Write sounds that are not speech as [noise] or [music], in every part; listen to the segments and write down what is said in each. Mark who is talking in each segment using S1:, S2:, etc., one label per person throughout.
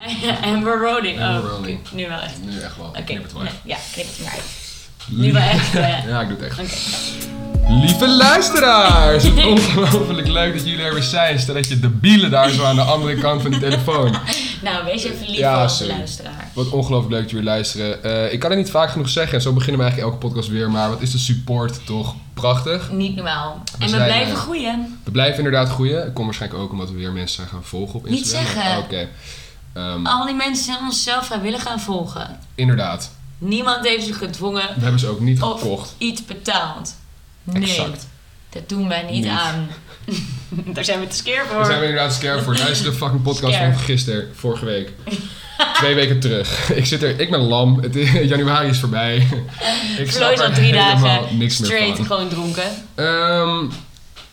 S1: [laughs] Amber Roding.
S2: Amber
S1: oh,
S2: Roding.
S1: nu wel echt.
S2: Nu echt wel.
S1: Oké.
S2: Knip het maar.
S1: Nee, ja, knip het maar uit. Nu wel echt. eh,
S2: [laughs] Ja, ik doe het echt.
S1: Oké.
S2: Lieve luisteraars, het ongelooflijk leuk dat jullie er weer zijn. Stel dat je debielen daar zo aan de andere kant van die telefoon.
S1: Nou, wees even lief
S2: Ja,
S1: voor onze
S2: sorry.
S1: luisteraar.
S2: Wat ongelooflijk leuk dat jullie luisteren. Eh, ik kan het niet vaak genoeg zeggen en zo beginnen we eigenlijk elke podcast weer. Maar wat is de support toch prachtig.
S1: Niet normaal. En we
S2: zijn,
S1: blijven
S2: eh,
S1: groeien.
S2: We blijven inderdaad groeien. Ik kom waarschijnlijk ook omdat we weer mensen zijn gaan volgen op
S1: Niet
S2: Instagram.
S1: zeggen.
S2: Oké. Ehm,
S1: Al die mensen zijn onszelf vrijwillig gaan volgen.
S2: Inderdaad.
S1: Niemand heeft ze gedwongen
S2: We hebben ze ook niet
S1: of
S2: gekocht.
S1: iets betaald. Nee,
S2: Exact.
S1: dat doen wij niet,
S2: Niet.
S1: aan. [laughs] Daar zijn we te skeer voor.
S2: Daar zijn we inderdaad scared voor. Luister de fucking podcast
S1: Scared.
S2: van gisteren, vorige week. Twee weken terug. Ik zit er, ik ben lam. Het is, januari is
S1: [laughs]
S2: voorbij.
S1: Flo
S2: Ik snap
S1: is al
S2: er
S1: drie
S2: helemaal
S1: dagen
S2: niks meer
S1: straight
S2: van.
S1: gewoon dronken.
S2: Ehm,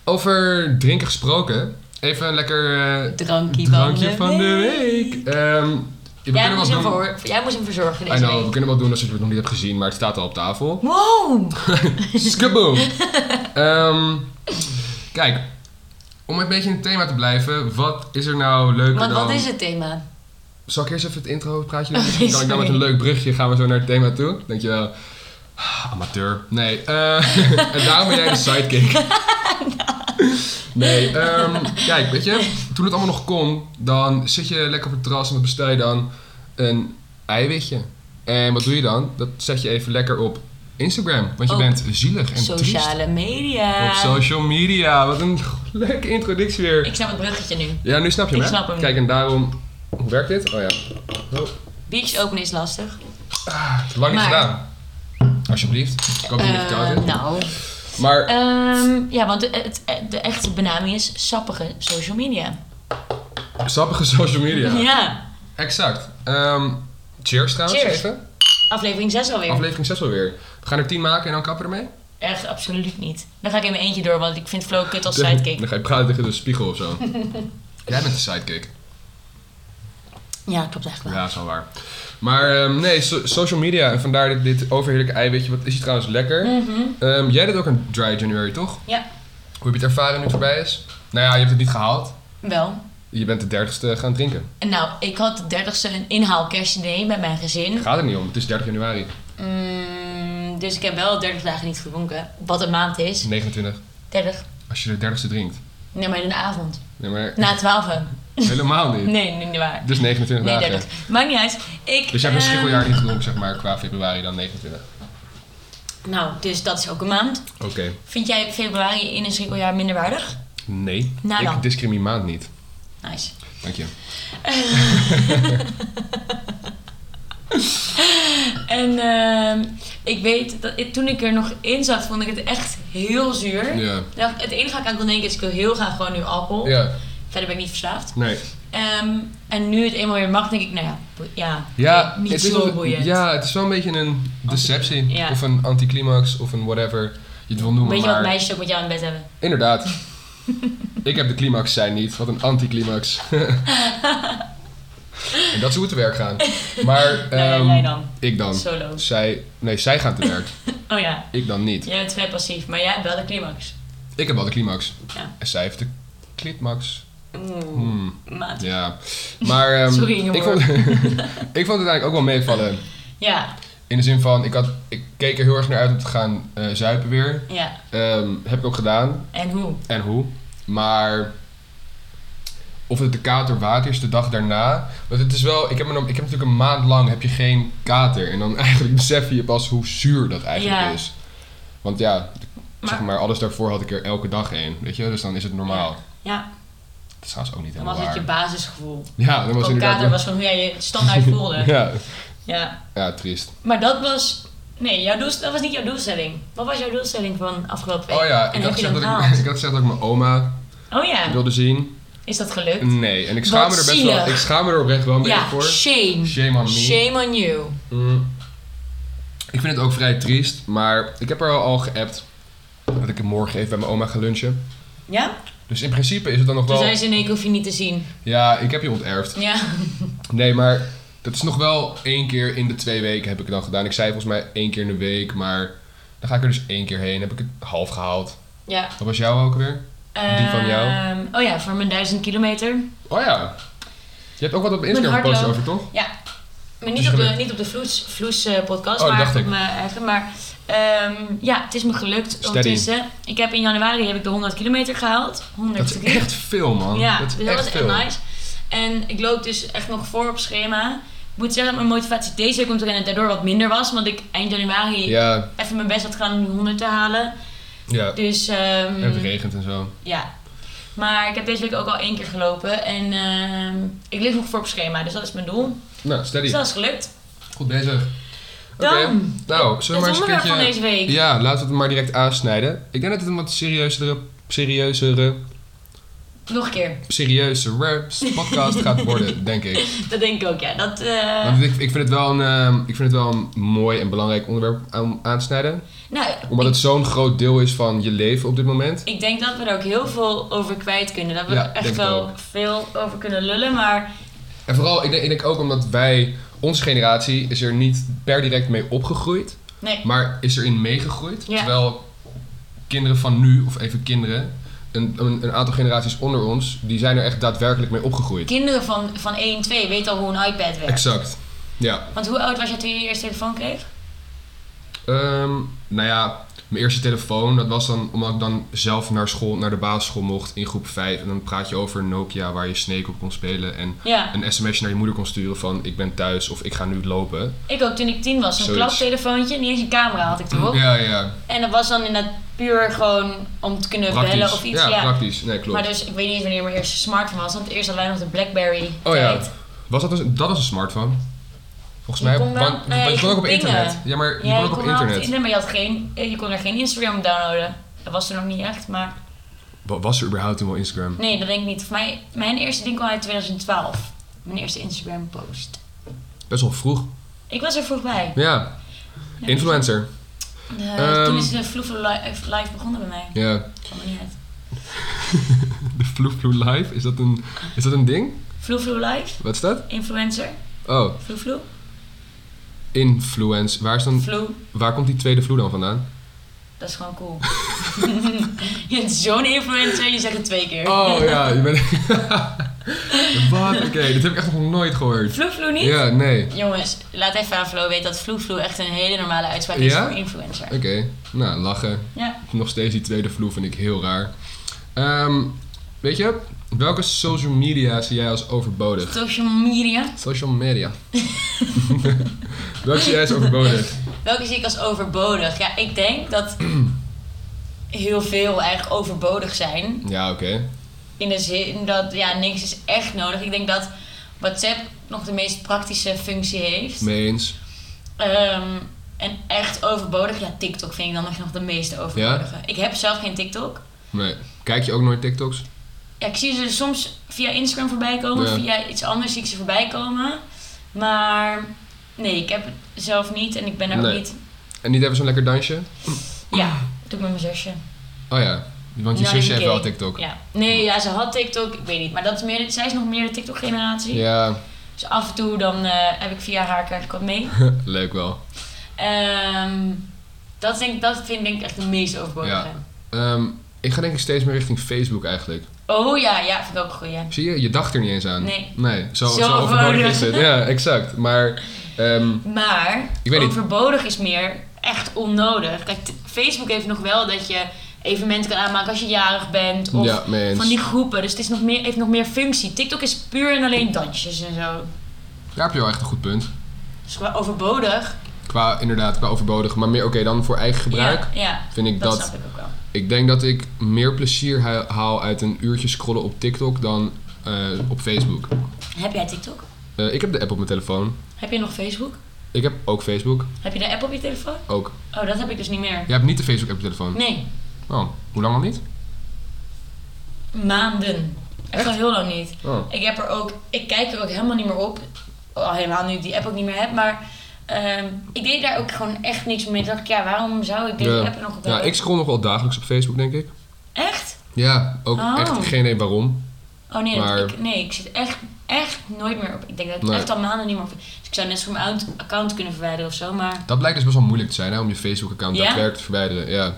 S2: over drinken gesproken. Even een lekker eh,
S1: Drankje,
S2: drankje van de week. Ehm, we
S1: Jij
S2: kunnen
S1: moest,
S2: wat
S1: hem
S2: doen.
S1: voor, jij moest hem verzorgen
S2: I
S1: deze
S2: know, we [laughs]
S1: week.
S2: kunnen wel doen als je het nog niet hebt gezien, maar het staat al op tafel.
S1: Wow! [laughs]
S2: Skaboom! Ehm, kijk, om een beetje in het thema te blijven, wat is er nou leuker
S1: Want
S2: dan...
S1: wat is het thema?
S2: Zal ik eerst even het intro praatje doen?
S1: Oké,
S2: Misschien kan ik dan met een
S1: Oh, sorry.
S2: leuk brugje gaan we zo naar het thema toe. Dankjewel. Ah, Amateur. Nee, eh, [laughs] en daarom ben jij de
S1: [laughs]
S2: sidekick. Nee, ehm, kijk, weet je, toen het allemaal nog kon, dan zit je lekker op het terras en wat bestel je dan? Een eiwitje. En wat doe je dan? Dat zet je even lekker op Instagram, want je
S1: Op
S2: bent zielig en triest.
S1: Sociale media.
S2: Op social media. Wat een leuke introductie weer.
S1: Ik snap het bruggetje nu.
S2: Ja, nu snap je hem,
S1: Ik
S2: hè?
S1: snap hem.
S2: Kijk, en daarom... Hoe werkt dit? Oh ja. Oh.
S1: Beach openen is lastig.
S2: Lang niet
S1: Maar-
S2: gedaan. Alsjeblieft. Ik hoop dat het niet
S1: Eh,
S2: koud is.
S1: nou,
S2: Maar
S1: ehm, ja, want de, het- de echte benaming is sappige social media.
S2: sappige [laughs] social media.
S1: [laughs] Ja.
S2: Exact. Ehm, cheers trouwens
S1: Cheers.
S2: even.
S1: Aflevering 6 alweer.
S2: Aflevering 6 alweer. We gaan er 10 maken en dan kappen we ermee.
S1: Echt, absoluut niet. Dan ga ik in mijn eentje door, want ik vind Flo kut als sidekick.
S2: [laughs] Dan ga je praten tegen de spiegel of zo.
S1: [laughs]
S2: Jij bent de sidekick.
S1: Ja, klopt eigenlijk wel.
S2: Ja, is wel waar. Maar ehm, nee, so- social media en vandaar dit, dit overheerlijke eiwitje. Wat is die trouwens lekker?
S1: Mhm.
S2: Ehm, jij deed ook een dry January, toch?
S1: Ja.
S2: Hoe heb je het ervaren nu het voorbij is? Nou ja, je hebt het niet gehaald.
S1: Wel.
S2: Je bent de dertigste gaan drinken.
S1: En nou, ik had de 30ste een inhaal kerstdiner met mijn gezin.
S2: Gaat er niet om, het is 30 januari.
S1: Mm, dus ik heb wel 30 dagen niet gedronken. Wat een maand is.
S2: 29.
S1: 30.
S2: Als je de dertigste drinkt.
S1: Nee, maar in de avond.
S2: Nee, maar
S1: Na 12.
S2: [laughs] helemaal niet.
S1: Nee, nee, niet waar.
S2: Dus 29
S1: Nee,
S2: dagen.
S1: 30. Maakt niet uit. Ik,
S2: Dus je hebt een
S1: ehm,
S2: schikkeljaar niet gedronken, zeg maar, qua februari dan 29.
S1: Nou, dus dat is ook een maand.
S2: Oké.
S1: Vind jij februari in een schrikkeljaar minder waardig?
S2: Nee.
S1: Nou dan.
S2: Ik discrimineer maand niet.
S1: Nice.
S2: Dank je.
S1: En ehm, ik weet dat ik- toen ik er nog in zat, vond ik het echt heel zuur.
S2: Ja.
S1: Nou, het enige wat ik aan kon denken is, ik wil heel graag gewoon nu alcohol.
S2: Ja.
S1: Verder ben ik niet verslaafd.
S2: Nee.
S1: Ehm, en nu het eenmaal weer mag, denk ik, nou ja, boe- ja,
S2: Ja,
S1: niet
S2: het is
S1: zo
S2: wel,
S1: boeiend.
S2: ja, het is wel een beetje een deceptie.
S1: Ja.
S2: Of een anticlimax, of een whatever je het wil noemen.
S1: Weet je wat
S2: maar
S1: meisjes ook met jou in bed hebben?
S2: Inderdaad.
S1: [laughs]
S2: ik heb de climax, zij niet. Wat een anticlimax.
S1: [laughs]
S2: en dat is hoe we te werk
S1: [laughs]
S2: gaan. Maar,
S1: Nou ja,
S2: ehm,
S1: jij dan.
S2: ik dan.
S1: Solo.
S2: Zij, nee, zij gaan te werk.
S1: Oh ja,
S2: ik dan niet.
S1: jij bent vrij passief, maar jij hebt wel de climax.
S2: Ik heb wel de climax.
S1: Ja.
S2: En zij heeft de climax.
S1: Oeh,
S2: Hmm,
S1: maat.
S2: ja.
S1: [laughs]
S2: Maar ehm,
S1: Sorry, jongen.
S2: ik, vond, [laughs] ik vond het eigenlijk ook wel meevallen.
S1: Ja,
S2: In de zin van, ik, had, ik keek er heel erg naar uit om te gaan eh, zuipen weer.
S1: ja.
S2: Ehm, heb ik ook gedaan.
S1: En hoe?
S2: En hoe. Maar of het de kater waard is de dag daarna. Want het is wel, ik heb, me dan, ik heb natuurlijk een maand lang heb je geen kater. En dan [laughs] eigenlijk besef je pas hoe zuur dat eigenlijk
S1: Ja.
S2: is. Want ja,
S1: Maar-
S2: zeg maar, alles daarvoor had ik er elke dag een. Weet je, dus dan is het normaal.
S1: Ja,
S2: Dat is trouwens ook niet
S1: dan
S2: helemaal
S1: was het
S2: waar.
S1: je basisgevoel.
S2: Ja, dat was
S1: Ook
S2: inderdaad...
S1: kader was van hoe jij je
S2: [laughs]
S1: standaard voelde. ja.
S2: Ja, ja, triest.
S1: Maar dat was... Nee, jouw doel, dat was niet jouw doelstelling. Wat was jouw doelstelling van afgelopen week?
S2: Oh ja,
S1: en
S2: ik
S1: heb
S2: had,
S1: je
S2: gezegd dat
S1: dat
S2: ik,
S1: gehaald?
S2: [laughs] ik had gezegd dat ik mijn oma
S1: Oh ja,
S2: wilde zien.
S1: is dat gelukt?
S2: Nee, en ik schaam
S1: Wat
S2: me er best
S1: zielig.
S2: wel, ik schaam me er oprecht wel een beetje
S1: ja,
S2: voor.
S1: shame.
S2: Shame on me.
S1: Shame on you.
S2: Mm. Ik vind het ook vrij triest, maar ik heb haar al, al geappt dat ik morgen even bij mijn oma ga lunchen.
S1: Ja?
S2: Dus in principe is het dan nog
S1: Toen
S2: wel...
S1: zei ze, nee, ik hoef je niet te zien.
S2: Ja, ik heb je onterfd.
S1: Ja.
S2: Nee, maar dat is nog wel één keer in de twee weken heb ik het dan gedaan. Ik zei volgens mij één keer in de week, maar dan ga ik er dus één keer heen. Heb ik het half gehaald.
S1: ja.
S2: Dat was jou ook weer? Die van jou?
S1: Ehm, Oh ja, voor mijn duizend kilometer.
S2: Oh ja. Je hebt ook wat op Instagram
S1: Mijn
S2: gepost over,
S1: hardloop.
S2: toch?
S1: Maar niet
S2: Dus
S1: op de,
S2: gelukt.
S1: niet op de Vloes, vloes eh, podcast,
S2: Oh, dat
S1: maar
S2: dacht
S1: op
S2: ik.
S1: mijn eigen. Maar ehm, ja, het is me gelukt.
S2: Steady.
S1: Ondertussen, ik heb in januari heb ik de 100 kilometer gehaald. 100
S2: Dat is
S1: kilometer.
S2: echt veel, man.
S1: Ja,
S2: dat is
S1: dus dat
S2: echt
S1: was echt
S2: veel.
S1: nice. En ik loop dus echt nog voor op schema. Ik moet zeggen dat mijn motivatie deze week om te rennen daardoor wat minder was. Want ik eind januari
S2: Ja,
S1: even mijn best had gedaan om die 100 te halen.
S2: ja.
S1: Dus
S2: En
S1: ehm,
S2: het regent en zo.
S1: ja. Maar ik heb deze week ook al één keer gelopen. En ehm, ik lig nog voor op schema. Dus dat is mijn doel.
S2: Nou,
S1: Dus
S2: steady.
S1: dat is gelukt.
S2: Goed bezig. Oké.
S1: Dan,
S2: Nou, zullen we maar
S1: het
S2: eens een
S1: onderwerp
S2: keertje...
S1: van deze week.
S2: Ja, laten we het maar direct aansnijden. Ik denk dat het een wat serieuzere, serieuzere,
S1: Nog een keer.
S2: serieuzere podcast
S1: [laughs]
S2: gaat worden, denk ik.
S1: Dat denk ik ook, ja. Dat, eh,
S2: Want ik, ik, vind het wel een, ehm, ik vind het wel een mooi en belangrijk onderwerp aan, aansnijden.
S1: nou,
S2: Omdat
S1: ik,
S2: het zo'n groot deel is van je leven op dit moment.
S1: ik denk dat we er ook heel veel over kwijt kunnen. Dat we
S2: Ja,
S1: er
S2: denk
S1: echt
S2: ik
S1: wel
S2: ook.
S1: veel over kunnen lullen. Maar
S2: En vooral, ik denk, ik denk ook omdat wij, onze generatie, is er niet per direct mee opgegroeid.
S1: nee.
S2: Maar is erin meegegroeid.
S1: Ja.
S2: Terwijl kinderen van nu, of even kinderen, een, een, een aantal generaties onder ons, die zijn er echt daadwerkelijk mee opgegroeid.
S1: Kinderen van, van 1, 2 weten al hoe een iPad werkt.
S2: Exact. Ja.
S1: Want hoe oud was je toen je je eerste telefoon kreeg?
S2: Ehm, nou ja, mijn eerste telefoon, dat was dan omdat ik dan zelf naar school, naar de basisschool mocht in groep 5. En dan praat je over Nokia waar je Snake op kon spelen en
S1: Ja,
S2: een sms'je naar je moeder kon sturen van ik ben thuis of ik ga nu lopen.
S1: ik ook toen ik 10 was. Zo'n
S2: Zoiets. Mm-hmm.
S1: klaptelefoontje. Niet eens een camera had ik erop.
S2: Ja, ja.
S1: En dat was dan inderdaad puur gewoon om te kunnen bellen of iets.
S2: ja,
S1: Ja,
S2: praktisch. Nee, klopt.
S1: Maar dus, ik weet niet eens wanneer mijn eerste smartphone was. Want eerst hadden wij nog de Blackberry
S2: Oh ja.
S1: tijd.
S2: Was dat, dus, dat was een smartphone? Volgens
S1: Je
S2: mij.
S1: kon wel-
S2: want,
S1: nou ja,
S2: want
S1: je
S2: je kon ook
S1: kon
S2: op
S1: pingen.
S2: internet. Ja, maar je
S1: Ja,
S2: kon ook op
S1: wel
S2: internet.
S1: maar je, had geen, eh, je kon er geen Instagram op downloaden. Dat was er nog niet echt, maar...
S2: Wa- Was er überhaupt toen wel Instagram?
S1: Nee, dat denk ik niet. Voor mij, mijn eerste ding kwam uit 2012. Mijn eerste Instagram post.
S2: Best wel vroeg.
S1: Ik was er vroeg bij.
S2: Ja.
S1: Ja.
S2: Influencer.
S1: Eh, toen
S2: Ehm.
S1: is de Vloeven live, eh, live begonnen bij mij.
S2: Ja.
S1: Kwam er niet uit.
S2: De Vloefvloe Live. Is dat, een, is dat een ding?
S1: Vloefvloe live,
S2: Wat is dat?
S1: influencer.
S2: Oh.
S1: Vloefvloe.
S2: Influence. Waar, is dan,
S1: Vloe,
S2: waar komt die tweede vloe dan vandaan?
S1: dat is gewoon cool. [laughs] je bent zo'n influencer, je zegt het twee keer.
S2: Oh ja, je bent.
S1: [laughs]
S2: Wat? Oké, dit heb ik echt nog nooit gehoord.
S1: Vloefvloe niet?
S2: Ja, nee.
S1: Jongens, laat even aan Flo weten dat vloefvloe echt een hele normale uitspraak is
S2: Ja?
S1: voor influencer.
S2: Oké, nou lachen.
S1: Ja.
S2: Nog steeds die tweede vloer vind ik heel raar. Ehm, weet je, welke social media zie jij als overbodig?
S1: Social media.
S2: Social
S1: [laughs]
S2: media. welke zie jij als overbodig?
S1: Welke zie ik als overbodig? Ja, ik denk dat [clears throat] heel veel eigenlijk overbodig zijn.
S2: Ja, oké.
S1: In de zin dat ja, niks is echt nodig. Ik denk dat WhatsApp nog de meest praktische functie heeft.
S2: Mee eens.
S1: Ehm, en echt overbodig, ja, TikTok vind ik dan nog- nog de meeste overbodige. Ik heb zelf geen TikTok.
S2: Nee. Kijk je ook nooit TikToks?
S1: Ja, ik zie ze soms via Instagram voorbij komen,
S2: Ja.
S1: via iets anders zie ik ze voorbij komen. Maar nee, ik heb het zelf niet en ik ben er ook
S2: Nee.
S1: niet.
S2: En niet even zo'n lekker dansje?
S1: Ja, dat doe ik met mijn zusje.
S2: Oh ja, want je
S1: Nou,
S2: zusje
S1: ik
S2: heeft wel
S1: weet.
S2: Tiktok.
S1: Ja. Nee, ja, ze had TikTok, ik weet niet. Maar dat is meer, zij is nog meer de TikTok-generatie.
S2: Ja,
S1: Dus af en toe dan eh, heb ik via haar krijg ik wat
S2: [laughs]
S1: mee.
S2: leuk wel.
S1: Ehm, dat, denk, ik- dat vind ik denk ik echt de meest overbodige.
S2: Ja. Ehm, ik ga denk ik steeds meer richting Facebook eigenlijk.
S1: Oh ja, ja, vind ik ook een goeie.
S2: Zie je, je dacht er niet eens aan.
S1: Nee.
S2: Nee, zo,
S1: Zo
S2: zo overbodig
S1: overbodig.
S2: is het. Ja, exact. Maar ehm,
S1: Maar
S2: Ik weet niet.
S1: overbodig is meer echt onnodig. Kijk, t- Facebook heeft nog wel dat je evenementen kan aanmaken als je jarig bent. Of
S2: ja, mee eens.
S1: van die groepen. Dus het is nog meer, heeft nog meer functie. TikTok is puur en alleen dansjes en zo.
S2: Daar heb je wel echt een goed punt.
S1: Dus qua overbodig.
S2: Qua inderdaad, qua overbodig. Maar meer oké, dan voor eigen gebruik
S1: Ja, ja,
S2: vind ik
S1: dat,
S2: dat.
S1: snap ik ook wel.
S2: Ik denk dat ik meer plezier ha- haal uit een uurtje scrollen op TikTok dan eh, op Facebook.
S1: Heb jij TikTok?
S2: Eh, ik heb de app op mijn telefoon.
S1: Heb je nog Facebook?
S2: Ik heb ook Facebook.
S1: Heb je de app op je telefoon?
S2: Ook.
S1: Oh, dat heb ik dus niet meer.
S2: Jij hebt niet de Facebook app op je telefoon.
S1: Nee,
S2: Oh, hoe lang al niet?
S1: maanden. Echt al heel lang niet.
S2: Oh.
S1: Ik heb er ook, ik kijk er ook helemaal niet meer op. Al helemaal nu ik die app ook niet meer heb, maar ehm, ik deed daar ook gewoon echt niks mee. Toen dacht ik, ja, waarom zou ik deze
S2: Ja.
S1: app er nog op
S2: Ja,
S1: hebben?
S2: ik scroll nog wel dagelijks op Facebook, denk ik.
S1: Echt?
S2: Ja, ook
S1: Oh.
S2: echt geen idee waarom.
S1: Oh nee, dat-
S2: Maar-
S1: ik, nee, ik zit echt, echt nooit meer op. Ik denk dat ik
S2: Nee.
S1: echt al maanden niet meer op. Dus ik zou net zo mijn account- account kunnen verwijderen of zo, maar
S2: Dat blijkt dus best wel moeilijk te zijn hè, om je Facebook-account
S1: Ja?
S2: daadwerkelijk te verwijderen. Ja.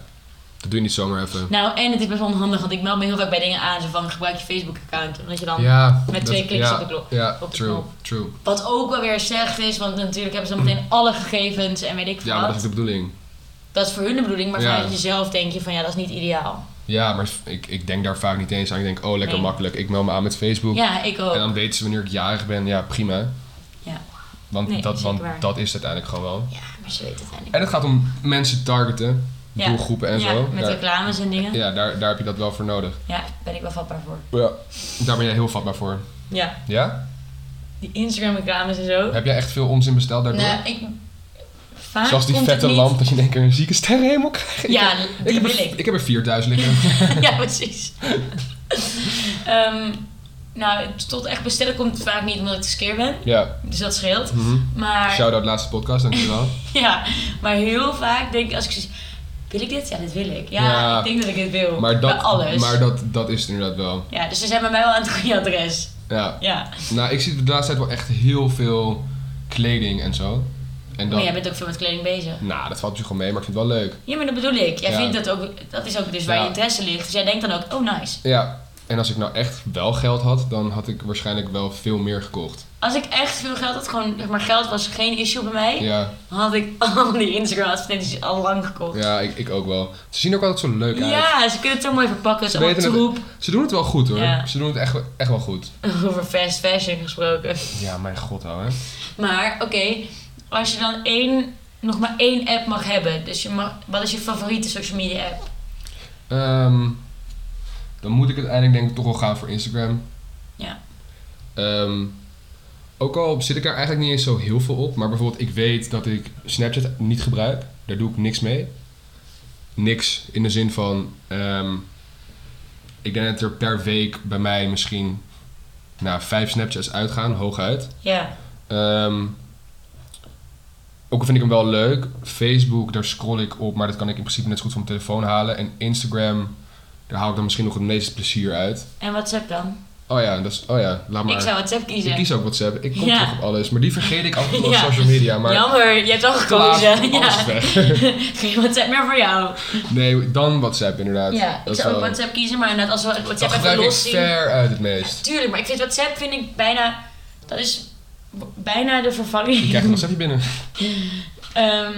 S2: Dat doe je niet zomaar even.
S1: Nou, en het is best wel onhandig, want ik meld me heel vaak bij dingen aan. Zo van, gebruik je Facebook-account. Omdat je dan...
S2: ja,
S1: met twee kliks
S2: ja,
S1: op de klok-
S2: Ja,
S1: op de
S2: true,
S1: knop.
S2: true.
S1: Wat ook wel weer slecht is, want natuurlijk hebben ze dan meteen alle gegevens en weet ik veel
S2: Ja, maar dat
S1: wat.
S2: is de bedoeling.
S1: Dat is voor hun de bedoeling, maar
S2: Ja.
S1: vanuit jezelf denk je van ja, dat is niet ideaal.
S2: Ja, maar ik, ik denk daar vaak niet eens aan. Ik denk, oh, lekker
S1: Nee.
S2: makkelijk. Ik meld me aan met Facebook.
S1: Ja, ik ook.
S2: En dan weten ze wanneer ik jarig ben. Ja, prima.
S1: Ja.
S2: Want,
S1: Nee,
S2: dat,
S1: zeker
S2: want
S1: waar.
S2: dat is het uiteindelijk gewoon wel.
S1: Ja, maar ze weten het eigenlijk.
S2: En het gaat om mensen targeten.
S1: Ja.
S2: Doelgroepen en
S1: ja,
S2: zo.
S1: met
S2: daar,
S1: reclames en dingen. Ja.
S2: ja daar, daar heb je dat wel voor nodig.
S1: ben ik wel vatbaar voor.
S2: Ja. Daar ben jij heel vatbaar voor.
S1: Ja,
S2: Ja?
S1: die Instagram-reclames en zo.
S2: Heb jij echt veel onzin besteld daardoor?
S1: Nou, ik... Vaak
S2: Zoals die
S1: komt het
S2: vette
S1: niet-
S2: lamp [laughs] dat je in één keer een zieke sterrenhemel
S1: [laughs]
S2: krijgt.
S1: Ja, die
S2: heb
S1: wil
S2: er,
S1: ik. [laughs]
S2: [laughs] heb er 4000 liggen.
S1: ja, precies. [laughs] Ehm, nou, tot echt bestellen komt het vaak niet omdat ik te skeer ben.
S2: ja.
S1: Dus dat scheelt.
S2: Mhm.
S1: Maar
S2: Shout-out laatste podcast, dankjewel.
S1: [laughs] Ja, maar heel vaak denk ik als ik zoiets... Wil ik dit? Ja, dit wil ik. Ja,
S2: Ja,
S1: ik denk dat ik dit wil.
S2: Maar, dat,
S1: Bij alles.
S2: maar dat, dat is het inderdaad wel.
S1: Ja, dus ze zijn bij mij wel aan het goede adres.
S2: Ja.
S1: Ja.
S2: Nou, ik zie de laatste tijd wel echt heel veel kleding en zo. En dat,
S1: Maar jij bent ook veel met kleding bezig.
S2: Nou, dat valt natuurlijk gewoon mee, maar ik vind het wel leuk.
S1: Ja, maar dat bedoel ik. Jij
S2: Ja.
S1: vindt dat ook... Dat is ook dus waar
S2: Ja.
S1: je interesse ligt. Dus jij denkt dan ook, oh nice.
S2: Ja. En als ik nou echt wel geld had, dan had ik waarschijnlijk wel veel meer gekocht.
S1: Als ik echt veel geld had, gewoon... Zeg maar geld was geen issue bij mij.
S2: Ja,
S1: Dan had ik [laughs] al die Instagram-advertenties al lang gekocht.
S2: ja ik, ik ook wel. Ze zien er ook altijd zo leuk uit.
S1: Ja, ze kunnen het zo mooi verpakken. Het is
S2: Ze
S1: allemaal
S2: weten
S1: troep.
S2: Ze doen het wel goed hoor.
S1: Ja.
S2: Ze doen het echt, echt wel goed.
S1: Over fast fashion gesproken.
S2: Ja, mijn god hoor.
S1: Maar oké, als je dan één, nog maar één app mag hebben. Dus je mag, wat is je favoriete social media app?
S2: Ehm, dan moet ik uiteindelijk denk ik toch wel gaan voor Instagram.
S1: Ja.
S2: Ehm, ook al zit ik daar eigenlijk niet eens zo heel veel op. Maar bijvoorbeeld ik weet dat ik Snapchat niet gebruik. Daar doe ik niks mee. Niks in de zin van... ehm, ik denk dat er per week bij mij misschien... Nou, vijf Snapchats uitgaan, hooguit.
S1: Ja.
S2: Ehm, ook al vind ik hem wel leuk. Facebook, daar scroll ik op, maar dat kan ik in principe net zo goed van mijn telefoon halen. En Instagram, daar haal ik dan misschien nog het meeste plezier uit.
S1: En WhatsApp dan?
S2: Oh ja, dat is, oh ja laat maar.
S1: Ik zou WhatsApp kiezen.
S2: Ik kies ook WhatsApp. Ik kom
S1: Ja.
S2: terug op alles. Maar die vergeet ik altijd op
S1: Ja.
S2: social media. Maar
S1: Jammer, je hebt al
S2: klaar,
S1: gekozen.
S2: alles
S1: Ja.
S2: is weg.
S1: [laughs] Geen WhatsApp meer voor jou.
S2: Nee, dan WhatsApp inderdaad.
S1: Ja, ik
S2: is
S1: zou ook
S2: wel-
S1: WhatsApp kiezen, maar inderdaad, als we
S2: Dan
S1: WhatsApp even
S2: gebruik ik
S1: los zien.
S2: ver uit het meest.
S1: Tuurlijk, maar ik vind WhatsApp vind ik bijna. Dat is b- bijna de
S2: Je
S1: vervanging.
S2: krijgt een WhatsAppje binnen.
S1: [laughs] Ehm,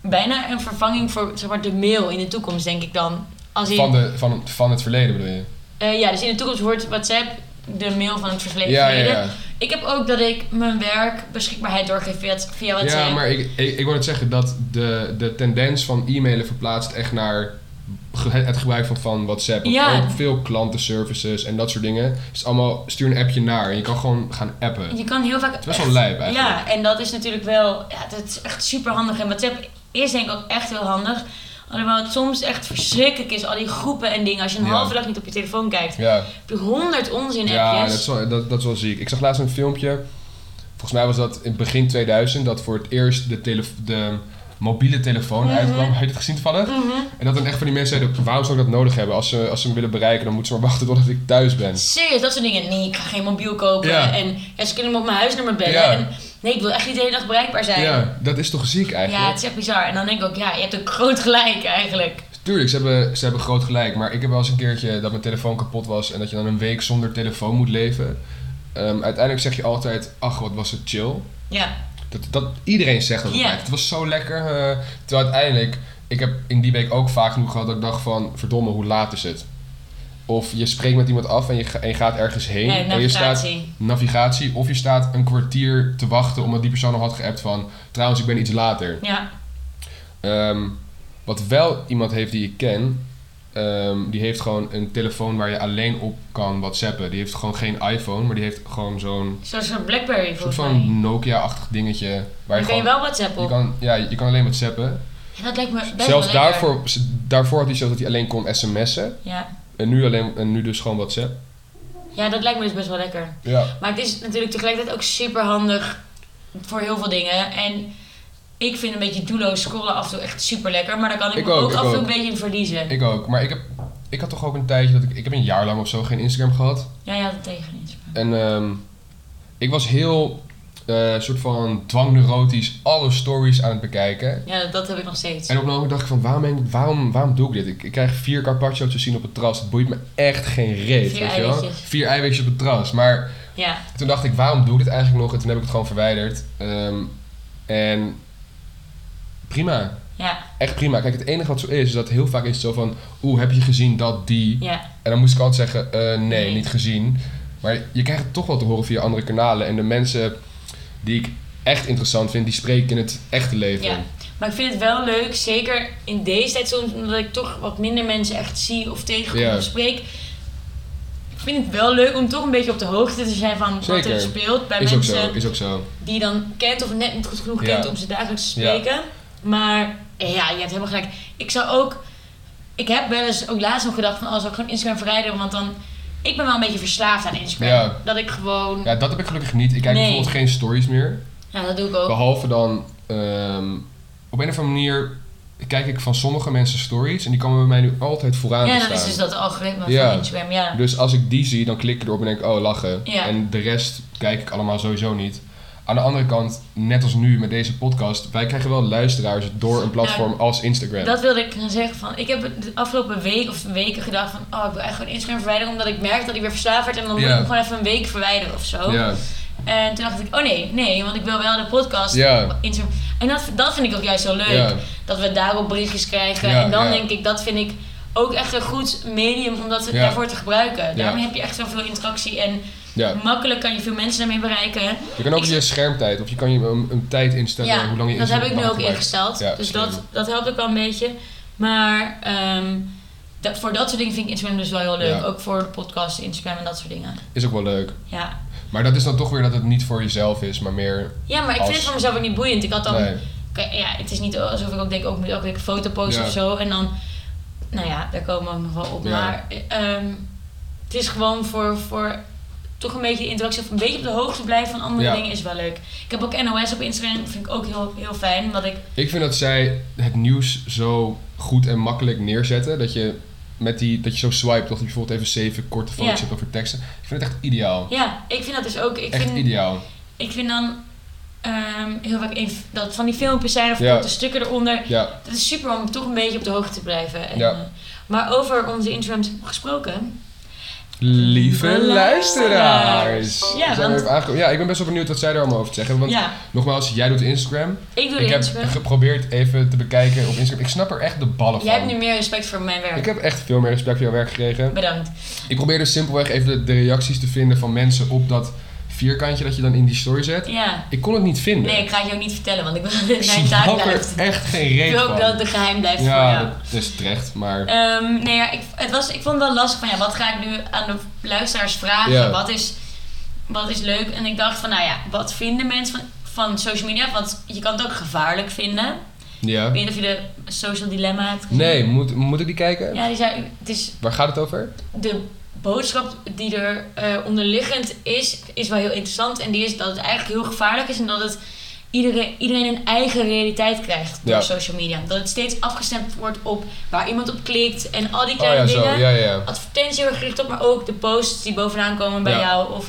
S1: bijna een vervanging voor zeg maar, de mail in de toekomst, denk ik dan. Als in,
S2: Van, de, van, van het verleden bedoel je?
S1: Eh, ja, dus in de toekomst wordt WhatsApp de mail van het verleden.
S2: Ja, ja,
S1: verleden.
S2: ja.
S1: Ik heb ook dat ik mijn werk beschikbaarheid doorgeef via, via WhatsApp.
S2: Ja, maar ik, ik, ik wil het zeggen dat de, de tendens van e-mailen verplaatst echt naar ge- het gebruik van, van WhatsApp. Want
S1: Ja.
S2: ook veel klantenservices en dat soort dingen. Het is allemaal stuur een appje naar en je kan gewoon gaan appen. Het
S1: Je kan heel vaak...
S2: is best wel lijp eigenlijk.
S1: Ja, en dat is natuurlijk wel... Ja, dat is echt super handig. En WhatsApp is denk ik ook echt heel handig. Alhoewel het soms echt verschrikkelijk is, al die groepen en dingen. Als je een
S2: Ja.
S1: halve dag niet op je telefoon kijkt,
S2: Ja,
S1: heb je honderd onzin
S2: ja dat,
S1: appjes.
S2: is wel, dat, dat is wel ziek. Ik zag laatst een filmpje. Volgens mij was dat in begin 2000 dat voor het eerst de, telef- de mobiele telefoon
S1: Mhm.
S2: uitkwam. Heb je het gezien toevallig?
S1: Mhm.
S2: En dat dan echt van die mensen zeiden, waarom zou ik dat nodig hebben? Als ze, als ze me willen bereiken, dan moeten ze maar wachten totdat ik thuis ben.
S1: Serieus, dat soort dingen. Nee, ik ga geen mobiel kopen.
S2: Ja.
S1: En ja, ze kunnen me op mijn huisnummer bellen.
S2: Ja.
S1: En, nee, ik wil echt niet de hele dag bereikbaar zijn.
S2: Ja, dat is toch ziek eigenlijk?
S1: Ja, het is echt bizar. En dan denk ik ook, ja, je hebt ook groot gelijk eigenlijk.
S2: Tuurlijk, ze hebben, ze hebben groot gelijk. Maar ik heb wel eens een keertje dat mijn telefoon kapot was en dat je dan een week zonder telefoon moet leven. Ehm, uiteindelijk zeg je altijd, ach wat was het chill.
S1: Ja,
S2: Dat, dat, iedereen zegt dat
S1: Ja.
S2: altijd. Het was zo lekker. eh, terwijl uiteindelijk, ik heb in die week ook vaak genoeg gehad dat ik dacht van, verdomme, hoe laat is het? Of je spreekt met iemand af en je, ga- en je gaat ergens heen.
S1: nee,
S2: en je staat
S1: navigatie.
S2: navigatie. Of je staat een kwartier te wachten omdat die persoon al had geappt van, trouwens ik ben iets later.
S1: Ja,
S2: Ehm, wat wel iemand heeft die ik ken, ehm, die heeft gewoon een telefoon waar je alleen op kan whatsappen. Die heeft gewoon geen iPhone, maar die heeft gewoon zo'n
S1: zoals een Blackberry
S2: soort
S1: volgens mij.
S2: van Nokia-achtig dingetje.
S1: Dan
S2: Waar je
S1: kun je
S2: gewoon,
S1: wel WhatsApp
S2: je
S1: op.
S2: kan, ja, je kan alleen whatsappen.
S1: Ja, dat lijkt me best
S2: Zelfs
S1: wel lekker.
S2: daarvoor, daarvoor had hij zelfs dat hij alleen kon sms'en.
S1: Ja.
S2: En nu, alleen, en nu dus gewoon whatsapp.
S1: ja, dat lijkt me dus best wel lekker.
S2: Ja.
S1: Maar het is natuurlijk tegelijkertijd ook super handig voor heel veel dingen. En ik vind een beetje doelloos scrollen af en toe echt super lekker. Maar daar kan ik,
S2: Ik
S1: me
S2: ook,
S1: ook
S2: ik
S1: af en toe
S2: ook.
S1: een beetje in verliezen.
S2: Ik ook, maar ik heb, ik had toch ook een tijdje dat ik, ik heb een jaar lang of zo geen Instagram gehad.
S1: Ja, ja, dat tegen niet.
S2: En ehm, ik was heel eh, soort van dwangneurotisch alle stories aan het bekijken.
S1: Ja, dat, dat heb ik nog steeds.
S2: En op een andere dag dacht ik van, waarom, ben ik- waarom, waarom doe ik dit? Ik, ik krijg vier carpaccio's te zien op het terras. Het boeit me echt geen reet,
S1: Vier
S2: weet je wel?
S1: eiwitjes.
S2: Vier eiwitjes op het terras. Maar
S1: Ja,
S2: toen dacht ik, waarom doe ik dit eigenlijk nog? En toen heb ik het gewoon verwijderd. Ehm, en prima.
S1: ja,
S2: Echt prima. Kijk, het enige wat zo is, is dat heel vaak is het zo van... Oeh, heb je gezien dat die...
S1: ja.
S2: En dan moest ik altijd zeggen, eh, nee,
S1: Nee.
S2: niet gezien. Maar je krijgt het toch wel te horen via andere kanalen. En de mensen die ik echt interessant vind, die spreken in het echte leven.
S1: Ja, maar ik vind het wel leuk, zeker in deze tijd soms, omdat ik toch wat minder mensen echt zie of tegenkom
S2: Ja.
S1: of spreek. Ik vind het wel leuk om toch een beetje op de hoogte te zijn van wat
S2: Zeker.
S1: er speelt bij
S2: is ook
S1: mensen
S2: zo, is ook zo.
S1: die je dan kent of net niet goed genoeg
S2: Ja.
S1: kent om ze dagelijks te
S2: Ja.
S1: spreken. Maar eh, ja, je hebt helemaal gelijk. Ik zou ook, ik heb wel eens ook laatst nog gedacht van, oh, zou ik gewoon Instagram verwijderen, want dan, ik ben wel een beetje verslaafd aan Instagram.
S2: Ja.
S1: Dat ik gewoon, ja.
S2: Ja, dat heb ik gelukkig niet. Ik kijk
S1: Nee. Oh.
S2: bijvoorbeeld geen stories meer.
S1: dat doe ik ook.
S2: Behalve dan, ehm, op een of andere manier kijk ik van sommige mensen stories. En die komen bij mij nu altijd vooraan
S1: Ja,
S2: te
S1: dat is
S2: staan.
S1: dus dat algoritme
S2: Ja.
S1: van Instagram, ja.
S2: Dus als ik die zie, dan klik ik erop en denk ik, oh, lachen.
S1: Ja.
S2: En de rest kijk ik allemaal sowieso niet. Aan de andere kant, net als nu met deze podcast, wij krijgen wel luisteraars door een platform als Instagram.
S1: Dat wilde ik gaan zeggen. Van, ik heb de afgelopen week of weken gedacht van... Oh, ik wil echt gewoon Instagram verwijderen. Omdat ik merk dat ik weer verslaafd werd. En dan moet
S2: Ja.
S1: ik hem gewoon even een week verwijderen of zo.
S2: ja.
S1: En toen dacht ik, oh nee, nee. Want ik wil wel de podcast
S2: Ja.
S1: op Instagram. En dat, dat vind ik ook juist heel leuk.
S2: Ja.
S1: Dat we daarop berichtjes krijgen.
S2: Ja,
S1: en dan
S2: ja.
S1: denk ik, dat vind ik ook echt een goed medium om dat
S2: Ja.
S1: daarvoor te gebruiken. Daarmee heb je echt zoveel interactie. En
S2: ja.
S1: makkelijk kan je veel mensen daarmee bereiken.
S2: Je kan ook
S1: Ik-
S2: je schermtijd, of je kan je een, een tijd instellen
S1: Ja,
S2: hoe lang je
S1: dat heb
S2: Instagram
S1: ik nu
S2: mag
S1: ook
S2: gebruiken.
S1: ingesteld.
S2: Ja,
S1: dus
S2: slim.
S1: dat, dat helpt ook al een beetje. Maar ehm, dat, voor dat soort dingen vind ik Instagram dus wel heel leuk.
S2: Ja.
S1: Ook voor de podcast, Instagram en dat soort dingen.
S2: Is ook wel leuk.
S1: Ja,
S2: Maar dat is dan toch weer dat het niet voor jezelf is, maar meer...
S1: ja maar ik
S2: Als-
S1: vind het voor mezelf ook niet boeiend. Ik had dan...
S2: Nee.
S1: Oké, ja, het is niet alsof ik ook denk, ook moet elke week een foto posten
S2: Ja.
S1: of zo. En dan... Nou ja, daar komen we ook nog wel op.
S2: Ja.
S1: Maar ehm, het is gewoon voor... voor toch een beetje de interactie of een beetje op de hoogte blijven van andere
S2: Ja.
S1: dingen is wel leuk. Ik heb ook NOS op Instagram, vind ik ook heel, heel fijn. Omdat ik
S2: Ik vind dat zij het nieuws zo goed en makkelijk neerzetten. Dat je, met die, dat je zo swipe, dat je bijvoorbeeld even zeven korte foto's
S1: Ja.
S2: hebt over teksten. Ik vind het echt ideaal.
S1: Ja, ik vind dat dus ook. Ik
S2: Oh. echt
S1: vind,
S2: ideaal.
S1: ik vind dan ehm, heel vaak een- dat van die filmpjes zijn of
S2: Ja.
S1: korte stukken eronder.
S2: Ja,
S1: Dat is super om toch een beetje op de hoogte te blijven. En,
S2: Ja.
S1: eh, maar over onze Instagram gesproken.
S2: lieve luisteraars.
S1: Ja,
S2: We zijn
S1: want-
S2: weer even aangekomen. ja, ik ben best wel benieuwd wat zij er allemaal over te zeggen. Want
S1: ja,
S2: nogmaals, jij doet Instagram.
S1: ik doe
S2: ik
S1: de
S2: heb
S1: Instagram.
S2: geprobeerd even te bekijken op Instagram. Ik snap er echt de ballen
S1: Jij hebt
S2: van.
S1: nu meer respect voor mijn werk.
S2: Ik heb echt veel meer respect voor jouw werk gekregen.
S1: Bedankt.
S2: Ik probeer dus simpelweg even de, de reacties te vinden van mensen op dat vierkantje dat je dan in die story zet.
S1: Ja.
S2: Ik kon het niet vinden.
S1: Nee, ik ga het je ook niet vertellen, want ik wil [laughs]
S2: Ik
S1: dat mijn taak
S2: snap
S1: blijft.
S2: er echt geen
S1: Ik
S2: reet
S1: wil
S2: van.
S1: ook dat het geheim blijft voor
S2: ja,
S1: jou.
S2: dat is terecht, maar
S1: Ehm, nee, ja, ik, het was, ik vond het wel lastig van ja, wat ga ik nu aan de luisteraars vragen?
S2: Ja.
S1: Wat, is, wat is leuk? En ik dacht van nou ja, wat vinden mensen van, van social media? Want je kan het ook gevaarlijk vinden.
S2: ja.
S1: Ik weet niet of je de social dilemma hebt gezien.
S2: Nee, moet, moet ik die kijken?
S1: Ja, die zei, het is
S2: Waar gaat het over?
S1: de boodschap die er eh, onderliggend is, is wel heel interessant. En die is dat het eigenlijk heel gevaarlijk is en dat het iedereen, iedereen een eigen realiteit krijgt door
S2: Ja.
S1: social media. Dat het steeds afgestemd wordt op waar iemand op klikt en al die
S2: Oh
S1: kleine
S2: ja,
S1: dingen
S2: zo. Ja, ja, ja.
S1: advertentie heel erg gericht op, maar ook de posts die bovenaan komen bij
S2: Ja.
S1: jou. Of,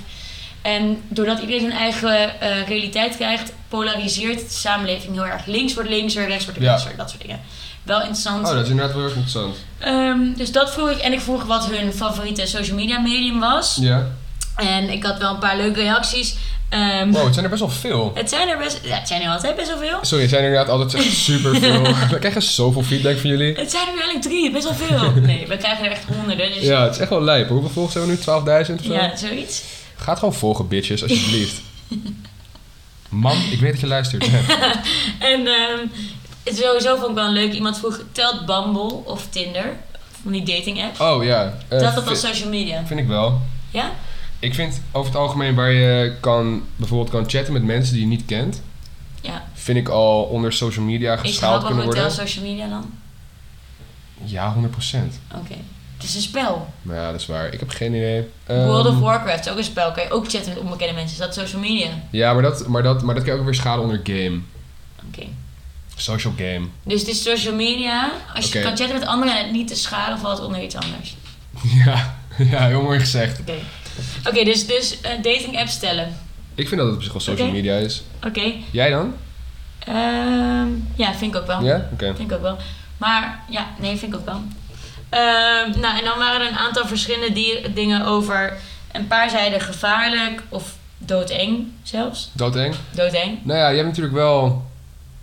S1: en doordat iedereen zijn eigen eh, realiteit krijgt, polariseert de samenleving heel erg. Links wordt linkser, rechts wordt
S2: Ja.
S1: rechtser, dat soort dingen. Wel interessant.
S2: Oh, dat is inderdaad wel heel erg interessant.
S1: Ehm, dus dat vroeg ik. En ik vroeg wat hun favoriete social media medium was.
S2: Ja.
S1: En ik had wel een paar leuke reacties. Ehm,
S2: Wow, het zijn er best wel veel.
S1: Het zijn er best, ja, het zijn er altijd best wel veel.
S2: Sorry, het zijn er inderdaad
S1: [laughs]
S2: altijd echt superveel. We krijgen zoveel feedback van jullie.
S1: Het zijn er eigenlijk drie, best wel veel. Nee, we krijgen er echt honderden. Dus ja,
S2: Ja, het is echt wel lijp. Hoeveel volgers hebben we nu? 12.000 of zo?
S1: zoiets.
S2: Ga het gewoon volgen,
S1: [laughs]
S2: bitches, alsjeblieft. Man, ik weet dat je luistert.
S1: En ehm, het sowieso vond ik wel leuk. Iemand vroeg, telt Bumble of Tinder? Van die dating app.
S2: Oh ja. eh,
S1: telt dat als
S2: vi-
S1: social media?
S2: Vind ik wel.
S1: Ja?
S2: Ik vind over het algemeen waar je kan, bijvoorbeeld kan chatten met mensen die je niet kent,
S1: Ja.
S2: vind ik al onder social media
S1: Is
S2: geschaald
S1: Hubble
S2: kunnen
S1: Hotel
S2: worden.
S1: social media dan?
S2: Ja, 100%.
S1: Oké. Het is een spel.
S2: Maar ja, dat is waar. Ik heb geen idee. Ehm,
S1: World of Warcraft is ook een spel. Kan je ook chatten met onbekende mensen. Is dat social media? Oké.
S2: Ja, maar dat, maar, dat, maar dat kan je ook weer schalen onder game. Social game. [laughs]
S1: Dus het is social media. Als je
S2: Oké.
S1: kan chatten met anderen en het niet te schade valt onder iets anders.
S2: ja, ja, heel mooi gezegd.
S1: Oké. Oké, dus, dus eh, dating app stellen.
S2: Ik vind dat het op zich wel social
S1: Oké.
S2: media is.
S1: Oké.
S2: Jij dan?
S1: Ehm, ja, vind ik ook wel.
S2: Ja? Oké.
S1: Vind ik ook wel. Maar ja, nee, vind ik ook wel. Ehm, nou, en dan waren er een aantal verschillende dier- dingen over. Een paar zeiden gevaarlijk of doodeng zelfs.
S2: Doodeng.
S1: Doodeng.
S2: Nou ja, je hebt natuurlijk wel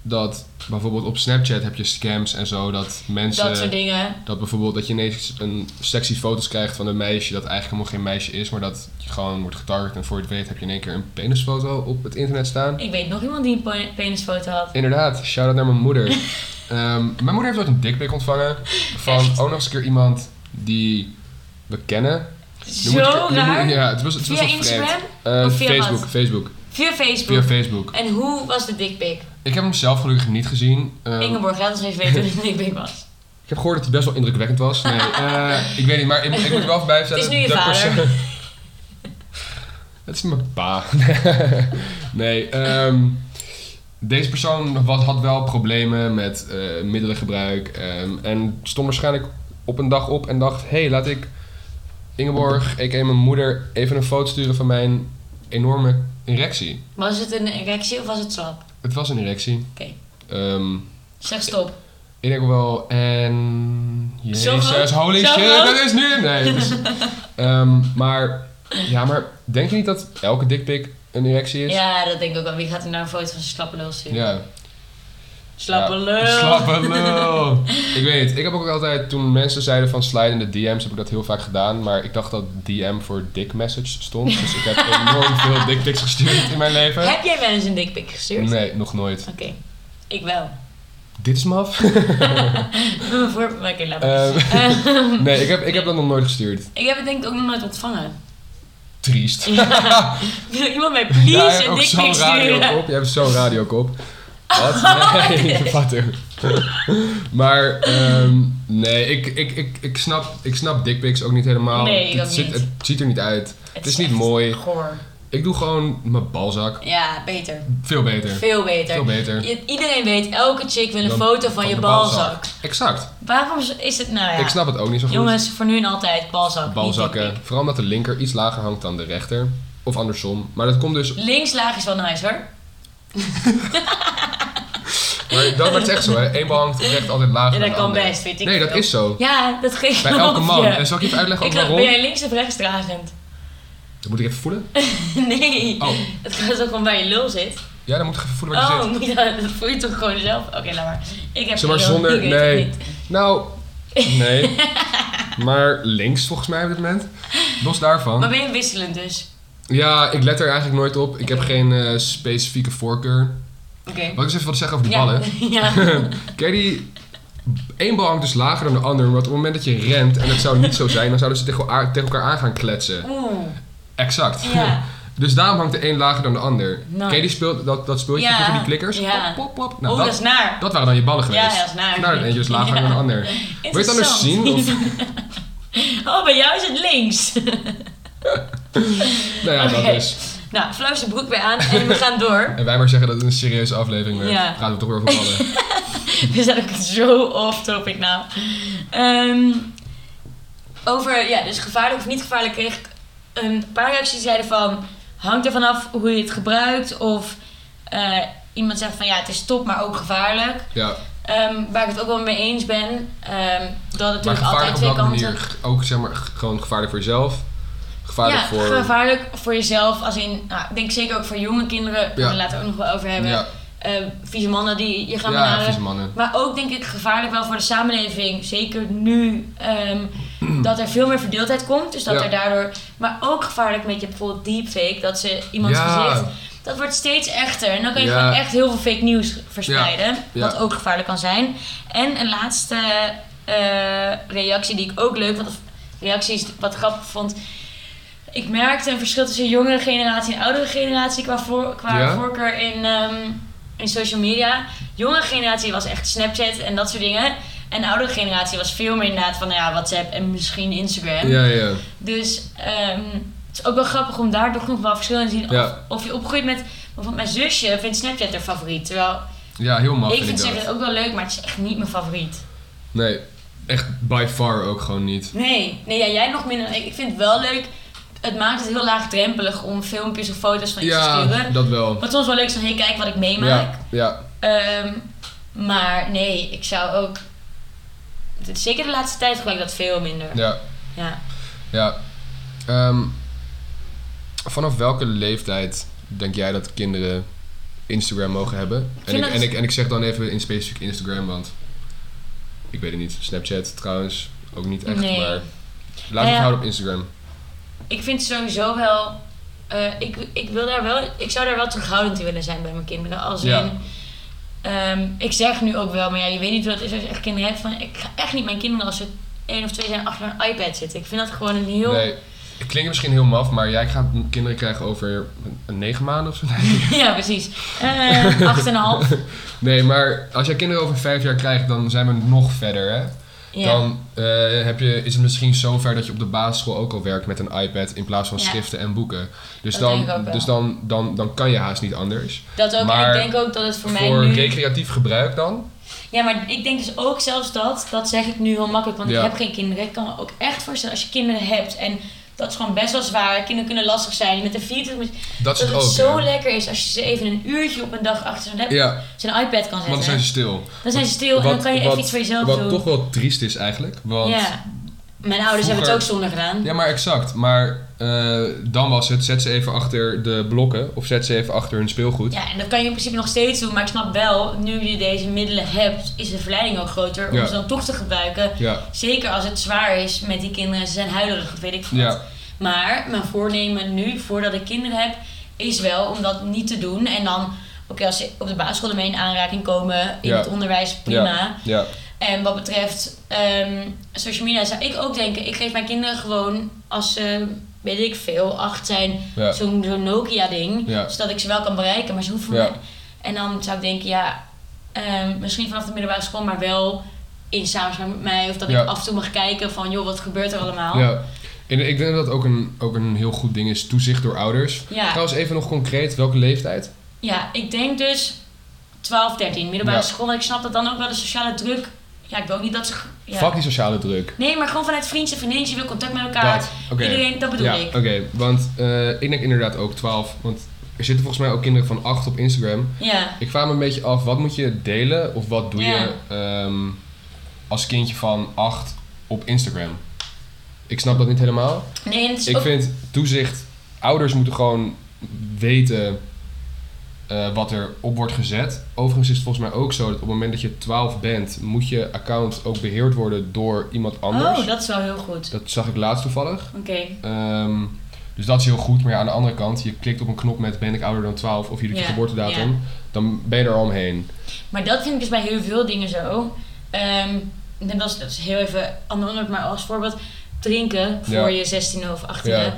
S2: dat bijvoorbeeld op Snapchat heb je scams en zo. Dat mensen.
S1: Dat soort dingen.
S2: Dat bijvoorbeeld dat je ineens een sexy foto's krijgt van een meisje dat eigenlijk helemaal geen meisje is, maar dat je gewoon wordt getarget en voor je het weet heb je in één keer een penisfoto op het internet staan.
S1: Ik weet nog iemand die een pe- penisfoto had.
S2: Inderdaad, shout-out naar mijn
S1: [laughs]
S2: moeder. Ehm, mijn moeder heeft ooit een dikpik ontvangen van
S1: Echt?
S2: ook nog eens een keer iemand die we kennen. Nu moet ik-
S1: Zo
S2: nu moet ik-
S1: raar.
S2: ja, het was, het was
S1: Via
S2: wel vreemd.
S1: Instagram?
S2: Eh,
S1: Of via
S2: Facebook,
S1: wat?
S2: Facebook.
S1: Via Facebook.
S2: Via Facebook.
S1: En hoe was de dikpik?
S2: Ik heb hem zelf gelukkig niet gezien. Ehm,
S1: Ingeborg, laat ons even weten
S2: [laughs]
S1: hoe de dikpik was.
S2: Ik heb gehoord dat hij best wel indrukwekkend
S1: [laughs]
S2: was. Nee, eh, ik weet niet, maar ik, ik moet er wel even bij vertellen.
S1: Het is nu je
S2: dat
S1: vader.
S2: persoon- [laughs] Het is mijn pa. [laughs] nee, ehm, deze persoon was, had wel problemen met eh, middelengebruik. ehm, en stond waarschijnlijk op een dag op en dacht... Hé, hey, laat ik Ingeborg, ik en mijn moeder, even een foto sturen van mijn enorme erectie.
S1: Was het een erectie of was het slap?
S2: Het was een erectie.
S1: Oké.
S2: Ehm,
S1: Zeg stop.
S2: ik denk wel, en...
S1: groot?
S2: Jezus, holy
S1: Zo
S2: shit,
S1: groot?
S2: dat is nu... Nee,
S1: [laughs]
S2: dus, ehm, maar... Ja, maar denk je niet dat elke dikpik een erectie is?
S1: Ja, dat denk ik ook wel. Wie gaat er nou een foto van zijn slappe lul sturen?
S2: Ja.
S1: Slappe
S2: Ja.
S1: lul. [laughs]
S2: Slappe lul. ik weet het. Ik heb ook altijd, toen mensen zeiden van sliden in de DM's, heb ik dat heel vaak gedaan. Maar ik dacht dat DM voor dick message stond. Dus
S1: [laughs]
S2: ik heb enorm veel dickpics gestuurd in mijn leven.
S1: Heb jij wel eens een dikpik gestuurd?
S2: Nee, nog nooit.
S1: Oké, ik wel.
S2: Dit is maf. [laughs]
S1: Mijn voorbeeld, maar oké, laat maar.
S2: Ehm,
S1: Ehm, [laughs]
S2: nee, ik heb, ik heb dat nog nooit gestuurd.
S1: Ik heb het denk ik ook nog nooit ontvangen. [laughs]
S2: Triest.
S1: Wil iemand mij please
S2: Ja, en
S1: een
S2: ook
S1: dikpik
S2: zo'n
S1: sturen?
S2: radiokop. Je hebt zo'n radiokop.
S1: [laughs]
S2: Wat?
S1: Oh,
S2: [laughs] Nee, wat doen. Maar ehm, nee, ik, ik, ik, ik snap, ik snap dickpics ook niet helemaal.
S1: Nee, ik
S2: het,
S1: ook
S2: ziet,
S1: niet.
S2: het ziet er niet uit. Het is niet
S1: echt
S2: mooi.
S1: Goor.
S2: Ik doe gewoon mijn balzak.
S1: Ja, beter.
S2: Veel beter.
S1: Veel beter.
S2: Veel beter.
S1: Je- iedereen weet, elke chick wil een
S2: Dan-
S1: foto van, je
S2: de
S1: balzak.
S2: Exact.
S1: Waarom is het nou ja?
S2: Ik snap het ook niet zo goed.
S1: Jongens, voor nu en altijd balzak. niet
S2: Balzakken.
S1: dikpik.
S2: Vooral omdat de linker iets lager hangt dan de rechter. Of andersom. Maar dat komt dus...
S1: Linkslaag is wel nice hoor.
S2: Maar, dat, maar het is echt zo, hè. Eén bal hangt recht altijd lager
S1: Ja,
S2: dan
S1: dat
S2: de
S1: kan
S2: andere.
S1: best, weet ik
S2: Nee, dat
S1: veel.
S2: is zo.
S1: Ja, dat geeft [laughs]
S2: Bij elke man. En zal ik je even uitleggen ook
S1: ik dacht,
S2: waarom?
S1: ben jij links of rechtsdragend?
S2: Dat moet ik even voelen.
S1: [laughs] nee.
S2: Oh,
S1: Het gaat ook gewoon bij je lul zit.
S2: ja, dan moet ik even voelen wat je
S1: Oh,
S2: zit.
S1: [laughs] moet je dat, dat voel je toch gewoon zelf? Oké, laat maar. Ik heb
S2: Zeg maar
S1: geen lul,
S2: zonder.
S1: ik weet het
S2: Nee.
S1: niet.
S2: Nou,
S1: [laughs]
S2: nee. maar links volgens mij op dit moment. Los
S1: Maar
S2: daarvan.
S1: ben je wisselend dus?
S2: Ja, ik let er eigenlijk nooit op. Ik heb geen eh, specifieke voorkeur.
S1: Oké.
S2: Wat ik eens even wilde zeggen over die
S1: Ja.
S2: ballen.
S1: [laughs]
S2: [laughs]
S1: ja.
S2: Ken je die? Eén bal hangt dus lager dan de ander. Want op het moment dat je rent, en dat zou niet zo zijn, dan zouden ze tegen, elkaar- tegen elkaar aan gaan kletsen.
S1: Oeh.
S2: Exact.
S1: Ja.
S2: [laughs] Dus daarom hangt de een lager dan de ander.
S1: Nice.
S2: Ken je die speel, dat, dat speeltje
S1: Ja.
S2: van die klikkers?
S1: Ja.
S2: Pop, pop, pop.
S1: Oeh,
S2: Nou,
S1: dat,
S2: dat,
S1: is naar.
S2: dat waren dan je ballen geweest.
S1: Ja, dat is naar.
S2: Nou, de eentje is lager dan de
S1: [laughs]
S2: ander. Wil je het anders zien?
S1: Interessant. [laughs]
S2: Of,
S1: Oh, bij jou is het links. [laughs]
S2: nou ja,
S1: Oké.
S2: dat is.
S1: nou, flauw zijn broek weer aan en we gaan door. [laughs]
S2: En wij maar zeggen dat het een serieuze aflevering werd.
S1: Ja.
S2: Praten we toch weer over
S1: [laughs]
S2: ballen.
S1: We zijn ook zo off-topic nou. Ehm, over, ja, dus gevaarlijk of niet gevaarlijk kreeg ik een paar reacties die zeiden van... Hangt er vanaf hoe je het gebruikt of eh, iemand zegt van ja, het is top, maar ook gevaarlijk.
S2: ja,
S1: Ehm, waar ik het ook wel mee eens ben, ehm, dat het
S2: maar
S1: natuurlijk altijd
S2: gevaarlijk op
S1: twee
S2: welke
S1: kanten...
S2: manier? G- Ook zeg maar g- gewoon gevaarlijk voor jezelf. Gevaarlijk
S1: ja,
S2: voor.
S1: gevaarlijk voor jezelf. Als in, nou, ik denk zeker ook voor jonge kinderen, daar gaan we later ook nog wel over hebben.
S2: ja,
S1: Eh, vieze mannen die je gaan
S2: ja,
S1: benaderen.
S2: vieze mannen.
S1: Maar ook denk ik gevaarlijk wel voor de samenleving. Zeker nu
S2: [clears throat]
S1: ehm, dat er veel meer verdeeldheid komt. Dus dat
S2: Ja.
S1: er daardoor. Maar ook gevaarlijk met je bijvoorbeeld deepfake. Dat ze iemands
S2: Ja.
S1: gezicht. Dat wordt steeds echter. En dan kan je
S2: Ja.
S1: gewoon echt heel veel fake nieuws verspreiden.
S2: Ja.
S1: Wat ook gevaarlijk kan zijn. En een laatste eh, reactie die ik ook leuk vond. Of reacties wat grappig vond. Ik merkte een verschil tussen jongere generatie en oudere generatie qua, voor, qua
S2: Ja?
S1: voorkeur in, ehm, in social media. Jongere generatie was echt Snapchat en dat soort dingen. En de oudere generatie was veel meer inderdaad van nou ja, WhatsApp en misschien Instagram.
S2: Ja, ja.
S1: Dus ehm, het is ook wel grappig om daar toch nog wel verschillen in te zien. Of,
S2: Ja.
S1: of je opgroeit met... Bijvoorbeeld mijn zusje vindt Snapchat haar favoriet. Terwijl
S2: ja, heel maf
S1: ik vind
S2: ik
S1: Snapchat
S2: dat.
S1: ook wel leuk, maar het is echt niet mijn favoriet.
S2: Nee, echt by far ook gewoon niet.
S1: Nee, nee ja, jij nog minder. Ik ik vind het wel leuk het maakt het heel laagdrempelig om filmpjes of foto's van je te
S2: Ja,
S1: sturen.
S2: dat wel.
S1: Wat soms wel leuk is van, hey, kijk wat ik meemaak.
S2: Ja, ja.
S1: Ehm, maar nee, ik zou ook... dit- Zeker de laatste tijd gebruik ik dat veel minder.
S2: ja.
S1: Ja.
S2: Ja. Ehm, vanaf welke leeftijd denk jij dat kinderen Instagram mogen hebben? En
S1: vind
S2: ik,
S1: dat-
S2: en, ik, en ik zeg dan even in specifiek Instagram, want ik weet het niet. Snapchat trouwens ook niet echt,
S1: Nee.
S2: maar
S1: Nou
S2: laten we
S1: ja.
S2: het houden op Instagram.
S1: Ik vind sowieso wel... eh, ik, ik, wil daar wel, ik zou daar wel terughoudend in willen zijn bij mijn kinderen. Als
S2: Ja.
S1: in, ehm, ik zeg nu ook wel, maar ja, je weet niet hoe dat is als je echt kinderen hebt. Van, ik ga echt niet mijn kinderen als ze één of twee zijn achter een iPad zitten. Ik vind dat gewoon een heel...
S2: Nee, het klinkt misschien heel maf, maar jij gaat kinderen krijgen over een- negen maanden of zo. [laughs] Nee.
S1: [laughs] Ja, precies. Eh, acht en een
S2: [laughs]
S1: half.
S2: nee, maar als jij kinderen over vijf jaar krijgt, dan zijn we nog verder, hè?
S1: Ja.
S2: Dan eh, heb je, is het misschien zover dat je op de basisschool ook al werkt met een iPad in plaats van
S1: Ja.
S2: schriften en boeken. Dus,
S1: Dat
S2: dan,
S1: denk ik ook wel.
S2: dus dan, dan, dan kan je haast niet anders.
S1: Dat ook.
S2: Maar
S1: en ik denk ook dat het voor,
S2: Voor
S1: mij nu...
S2: recreatief gebruik dan?
S1: Ja, maar ik denk dus ook zelfs dat, dat zeg ik nu heel makkelijk, want
S2: Ja.
S1: ik heb geen kinderen. Ik kan me ook echt voorstellen, als je kinderen hebt, en dat is gewoon best wel zwaar, kinderen kunnen lastig zijn, met een 24 minuten,
S2: Dat
S1: dat
S2: is het
S1: het
S2: ook.
S1: zo
S2: hè?
S1: lekker is als je ze even een uurtje op een dag achter zo'n laptop-
S2: ja,
S1: zijn iPad kan
S2: want dan
S1: zetten.
S2: zijn ze stil.
S1: dan zijn ze stil en
S2: Wat-
S1: dan kan je even
S2: wat-
S1: iets voor jezelf
S2: Wat
S1: doen.
S2: toch wel triest is eigenlijk. Want,
S1: ja. Mijn ouders hebben
S2: vroeger-
S1: het ook zonder gedaan.
S2: Ja, maar exact. Maar eh, dan was het, zet ze even achter de blokken of zet ze even achter hun speelgoed.
S1: Ja, en dat kan je in principe nog steeds doen, maar ik snap wel, nu je deze middelen hebt, is de verleiding ook groter om
S2: Ja.
S1: ze dan toch te gebruiken.
S2: Ja,
S1: Zeker als het zwaar is met die kinderen, ze zijn huilerig of weet ik veel. wat.
S2: ja,
S1: Maar mijn voornemen nu, voordat ik kinderen heb, is wel om dat niet te doen. En dan, oké, als ze op de basisschool ermee in aanraking komen, in
S2: Ja.
S1: het onderwijs, prima.
S2: ja,
S1: En wat betreft ehm, social media zou ik ook denken, ik geef mijn kinderen gewoon, als ze, weet ik veel, acht zijn,
S2: ja.
S1: zo'n zo'n Nokia-ding.
S2: Ja.
S1: Zodat ik ze wel kan bereiken, maar ze hoeven
S2: Ja.
S1: me- En dan zou ik denken, ja, ehm, misschien vanaf de middelbare school, maar wel in samenspraak met mij. Of dat
S2: Ja.
S1: ik af en toe mag kijken van, joh, wat gebeurt er allemaal?
S2: ja. En ik denk dat dat ook een, ook een heel goed ding is, toezicht door ouders.
S1: Ja.
S2: Trouwens, even nog concreet, welke leeftijd?
S1: Ja, ik denk dus 12, 13, middelbare
S2: Ja.
S1: school. En ik snap dat dan ook wel de sociale druk. Ja, ik wil ook niet dat ze. Ja.
S2: Fuck die sociale druk.
S1: Nee, maar gewoon vanuit vriendjes en vriendinnetjes. Je wil contact met elkaar.
S2: Dat, oké.
S1: Iedereen, dat bedoel
S2: Ja,
S1: ik.
S2: oké. Want eh, ik denk inderdaad ook 12. Want er zitten volgens mij ook kinderen van 8 op Instagram.
S1: Ja,
S2: Ik vraag me een beetje af, wat moet je delen of wat doe
S1: Ja.
S2: je ehm, als kindje van 8 op Instagram? Ik snap dat niet helemaal.
S1: nee, en [laughs] het is
S2: Ik
S1: ook-
S2: vind toezicht, ouders moeten gewoon weten eh, wat er op wordt gezet. Overigens is het volgens mij ook zo dat op het moment dat je 12 bent, moet je account ook beheerd worden door iemand anders.
S1: Oh, dat is wel heel goed.
S2: Dat zag ik laatst toevallig.
S1: Oké.
S2: Ehm, dus dat is heel goed. Maar ja, aan de andere kant, je klikt op een knop met ben ik ouder dan 12 of je doet je
S1: Ja,
S2: geboortedatum. Dan ben je er al omheen.
S1: Maar dat vind ik dus bij heel veel dingen zo. Ehm, en dat is, dat is heel even ander onderwerp, maar als voorbeeld drinken voor
S2: Ja.
S1: je 16 of 18e.
S2: Ja.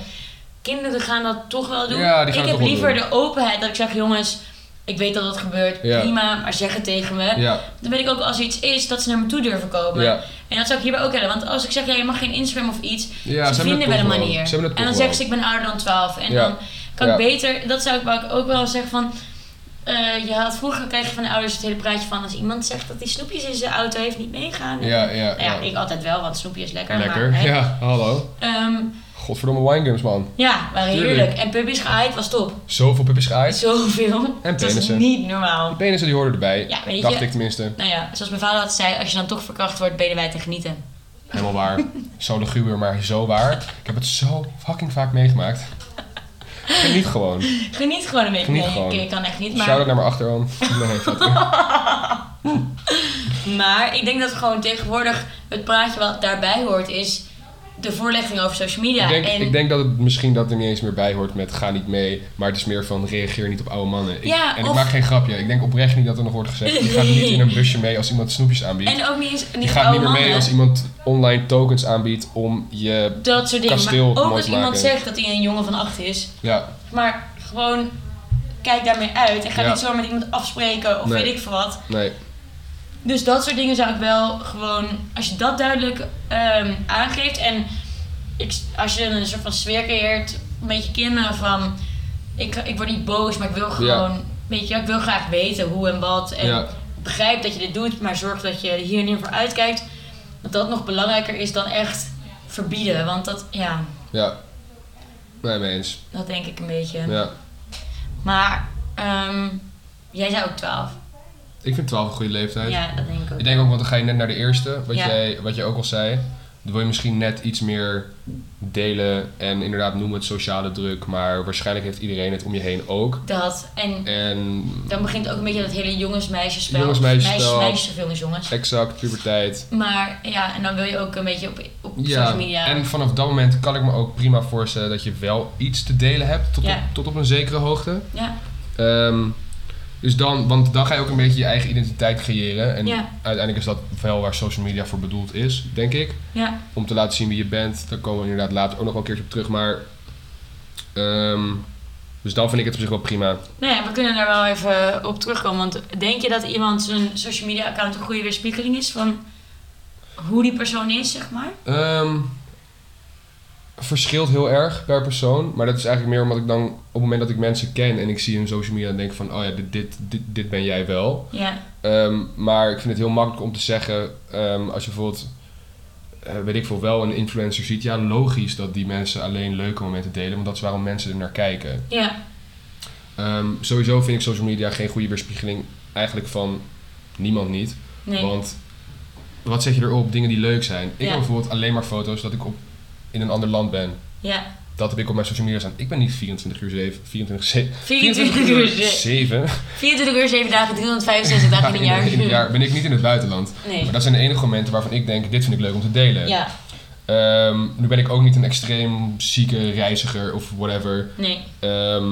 S1: Kinderen gaan dat toch wel doen.
S2: Ja, die gaan
S1: ik
S2: het
S1: heb
S2: toch wel
S1: liever
S2: doen.
S1: de openheid dat ik zeg, jongens, ik weet dat dat gebeurt,
S2: Ja.
S1: prima, maar zeg het tegen me.
S2: Ja,
S1: Dan weet ik ook als er iets is, dat ze naar me toe durven komen.
S2: ja.
S1: En dat zou ik hierbij ook hebben. Want als ik zeg, ja, je mag geen Instagram of iets,
S2: ja
S1: ze vinden
S2: het
S1: wel een
S2: toch
S1: manier.
S2: Ze hebben het
S1: en dan
S2: toch
S1: zeggen
S2: wel.
S1: ze, ik ben ouder dan 12. En
S2: Ja.
S1: dan kan
S2: Ja.
S1: ik beter, dat zou ik wou ik ook wel zeggen van... eh, je had vroeger kreeg je van de ouders het hele praatje van... als iemand zegt dat hij snoepjes in zijn auto heeft, niet meegaan.
S2: Ja, ja,
S1: Nou ja,
S2: ja.
S1: ik altijd wel, want snoepje is lekker.
S2: Lekker.
S1: Maar, hè.
S2: ja, hallo.
S1: Ehm,
S2: Godverdomme winegums, man.
S1: ja, waren
S2: Tuurlijk.
S1: heerlijk. En puppies gehaaid was top.
S2: Zoveel puppies geëist.
S1: Zoveel.
S2: En
S1: dat is
S2: penissen.
S1: niet normaal.
S2: Penissen die hoorden erbij.
S1: Ja, weet je.
S2: dacht ik tenminste.
S1: Nou ja, zoals mijn vader altijd zei, als je dan toch verkracht wordt, ben je er wij te genieten.
S2: Helemaal waar. zo luguber, maar zo waar. Ik heb het zo fucking vaak meegemaakt. Geniet gewoon.
S1: Geniet gewoon een beetje.
S2: Geniet
S1: nee,
S2: gewoon.
S1: ik- ik kan echt niet.
S2: Shout-out
S1: Maar,
S2: naar mijn achteroom. Nee, vat weer.
S1: maar ik denk dat gewoon tegenwoordig het praatje wat daarbij hoort is de voorlichting over social media.
S2: ik, denk,
S1: en
S2: ik denk dat het misschien dat er niet eens meer bij hoort met ga niet mee. Maar het is meer van reageer niet op oude mannen. Ik-
S1: Ja,
S2: en ik
S1: of-
S2: maak geen grapje. Ik denk oprecht niet dat er nog wordt gezegd. Je gaat niet in een busje mee als iemand snoepjes aanbiedt.
S1: En ook niet eens
S2: je
S1: niet
S2: gaat niet
S1: oude
S2: meer mee
S1: mannen.
S2: als iemand online tokens aanbiedt om je...
S1: dat soort dingen.
S2: kasteel
S1: Maar ook
S2: mooi
S1: als
S2: te
S1: iemand
S2: maken.
S1: zegt dat hij een jongen van acht is.
S2: Ja,
S1: Maar gewoon kijk daarmee uit. En ga
S2: Ja.
S1: niet zomaar met iemand afspreken of
S2: Nee.
S1: weet ik veel wat.
S2: nee.
S1: Dus dat soort dingen zou ik wel gewoon, als je dat duidelijk ehm, aangeeft en ik, als je een soort van sfeer creëert met je kinderen van, ik, ik word niet boos, maar ik wil gewoon, weet je, ik wil graag weten hoe en wat en
S2: Ja.
S1: begrijp dat je dit doet, maar zorg dat je hier en hier voor uitkijkt. Dat dat nog belangrijker is dan echt verbieden, want dat, ja,
S2: Ja. Nee, mee eens.
S1: Dat denk ik een beetje.
S2: Ja.
S1: Maar ehm, jij zei ook 12.
S2: Ik vind 12 een goede leeftijd.
S1: Ja, dat denk ik ook.
S2: Ik denk ook, want dan ga je net naar de eerste, wat,
S1: Ja.
S2: jij, wat je ook al zei. Dan wil je misschien net iets meer delen en inderdaad noem het sociale druk, maar waarschijnlijk heeft iedereen het om je heen ook.
S1: Dat. En
S2: En
S1: dan begint ook een beetje dat hele jongens-meisjesspel.
S2: Jongens-meisjesspel.
S1: Meisjes, meisjes of jongens-jongens.
S2: exact, puberteit.
S1: Maar ja, en dan wil je ook een beetje op, op
S2: Ja,
S1: social media.
S2: en vanaf dat moment kan ik me ook prima voorstellen dat je wel iets te delen hebt, tot,
S1: Ja.
S2: op, tot op een zekere hoogte.
S1: ja,
S2: Ehm, dus dan, want dan ga je ook een beetje je eigen identiteit creëren. En
S1: Ja.
S2: uiteindelijk is dat wel waar social media voor bedoeld is, denk ik.
S1: ja,
S2: om te laten zien wie je bent. Daar komen we inderdaad later ook nog wel een keertje op terug. Maar. ehm, dus dan vind ik het op zich wel prima.
S1: Nou ja, we kunnen daar wel even op terugkomen. Want denk je dat iemand zijn social media account een goede weerspiegeling is van hoe die persoon is, zeg maar?
S2: Ehm, verschilt heel erg per persoon. Maar dat is eigenlijk meer omdat ik dan op het moment dat ik mensen ken en ik zie hun social media, dan denk ik van: oh ja, dit, dit, dit, dit ben jij wel.
S1: Ja,
S2: Ehm, maar ik vind het heel makkelijk om te zeggen, ehm, als je bijvoorbeeld, eh, weet ik veel, wel een influencer ziet, ja, logisch dat die mensen alleen leuke momenten delen, want dat is waarom mensen er naar kijken.
S1: ja,
S2: Ehm, sowieso vind ik social media geen goede weerspiegeling eigenlijk van niemand niet.
S1: nee.
S2: Want wat zet je erop? Dingen die leuk zijn. Ik
S1: Ja.
S2: heb bijvoorbeeld alleen maar foto's dat ik op, in een ander land ben.
S1: Ja,
S2: Dat heb ik op mijn social media staan. Ik ben niet 24 uur 7. 24, 7,
S1: 24 uur, ze-
S2: 7.
S1: 24 uur, 7 dagen, 365
S2: [laughs]
S1: dagen in een jaar.
S2: In een jaar ben ik niet in het buitenland.
S1: Nee,
S2: Maar dat zijn de enige momenten waarvan ik denk, dit vind ik leuk om te delen.
S1: ja,
S2: Ehm, nu ben ik ook niet een extreem zieke reiziger of whatever.
S1: nee,
S2: Ehm,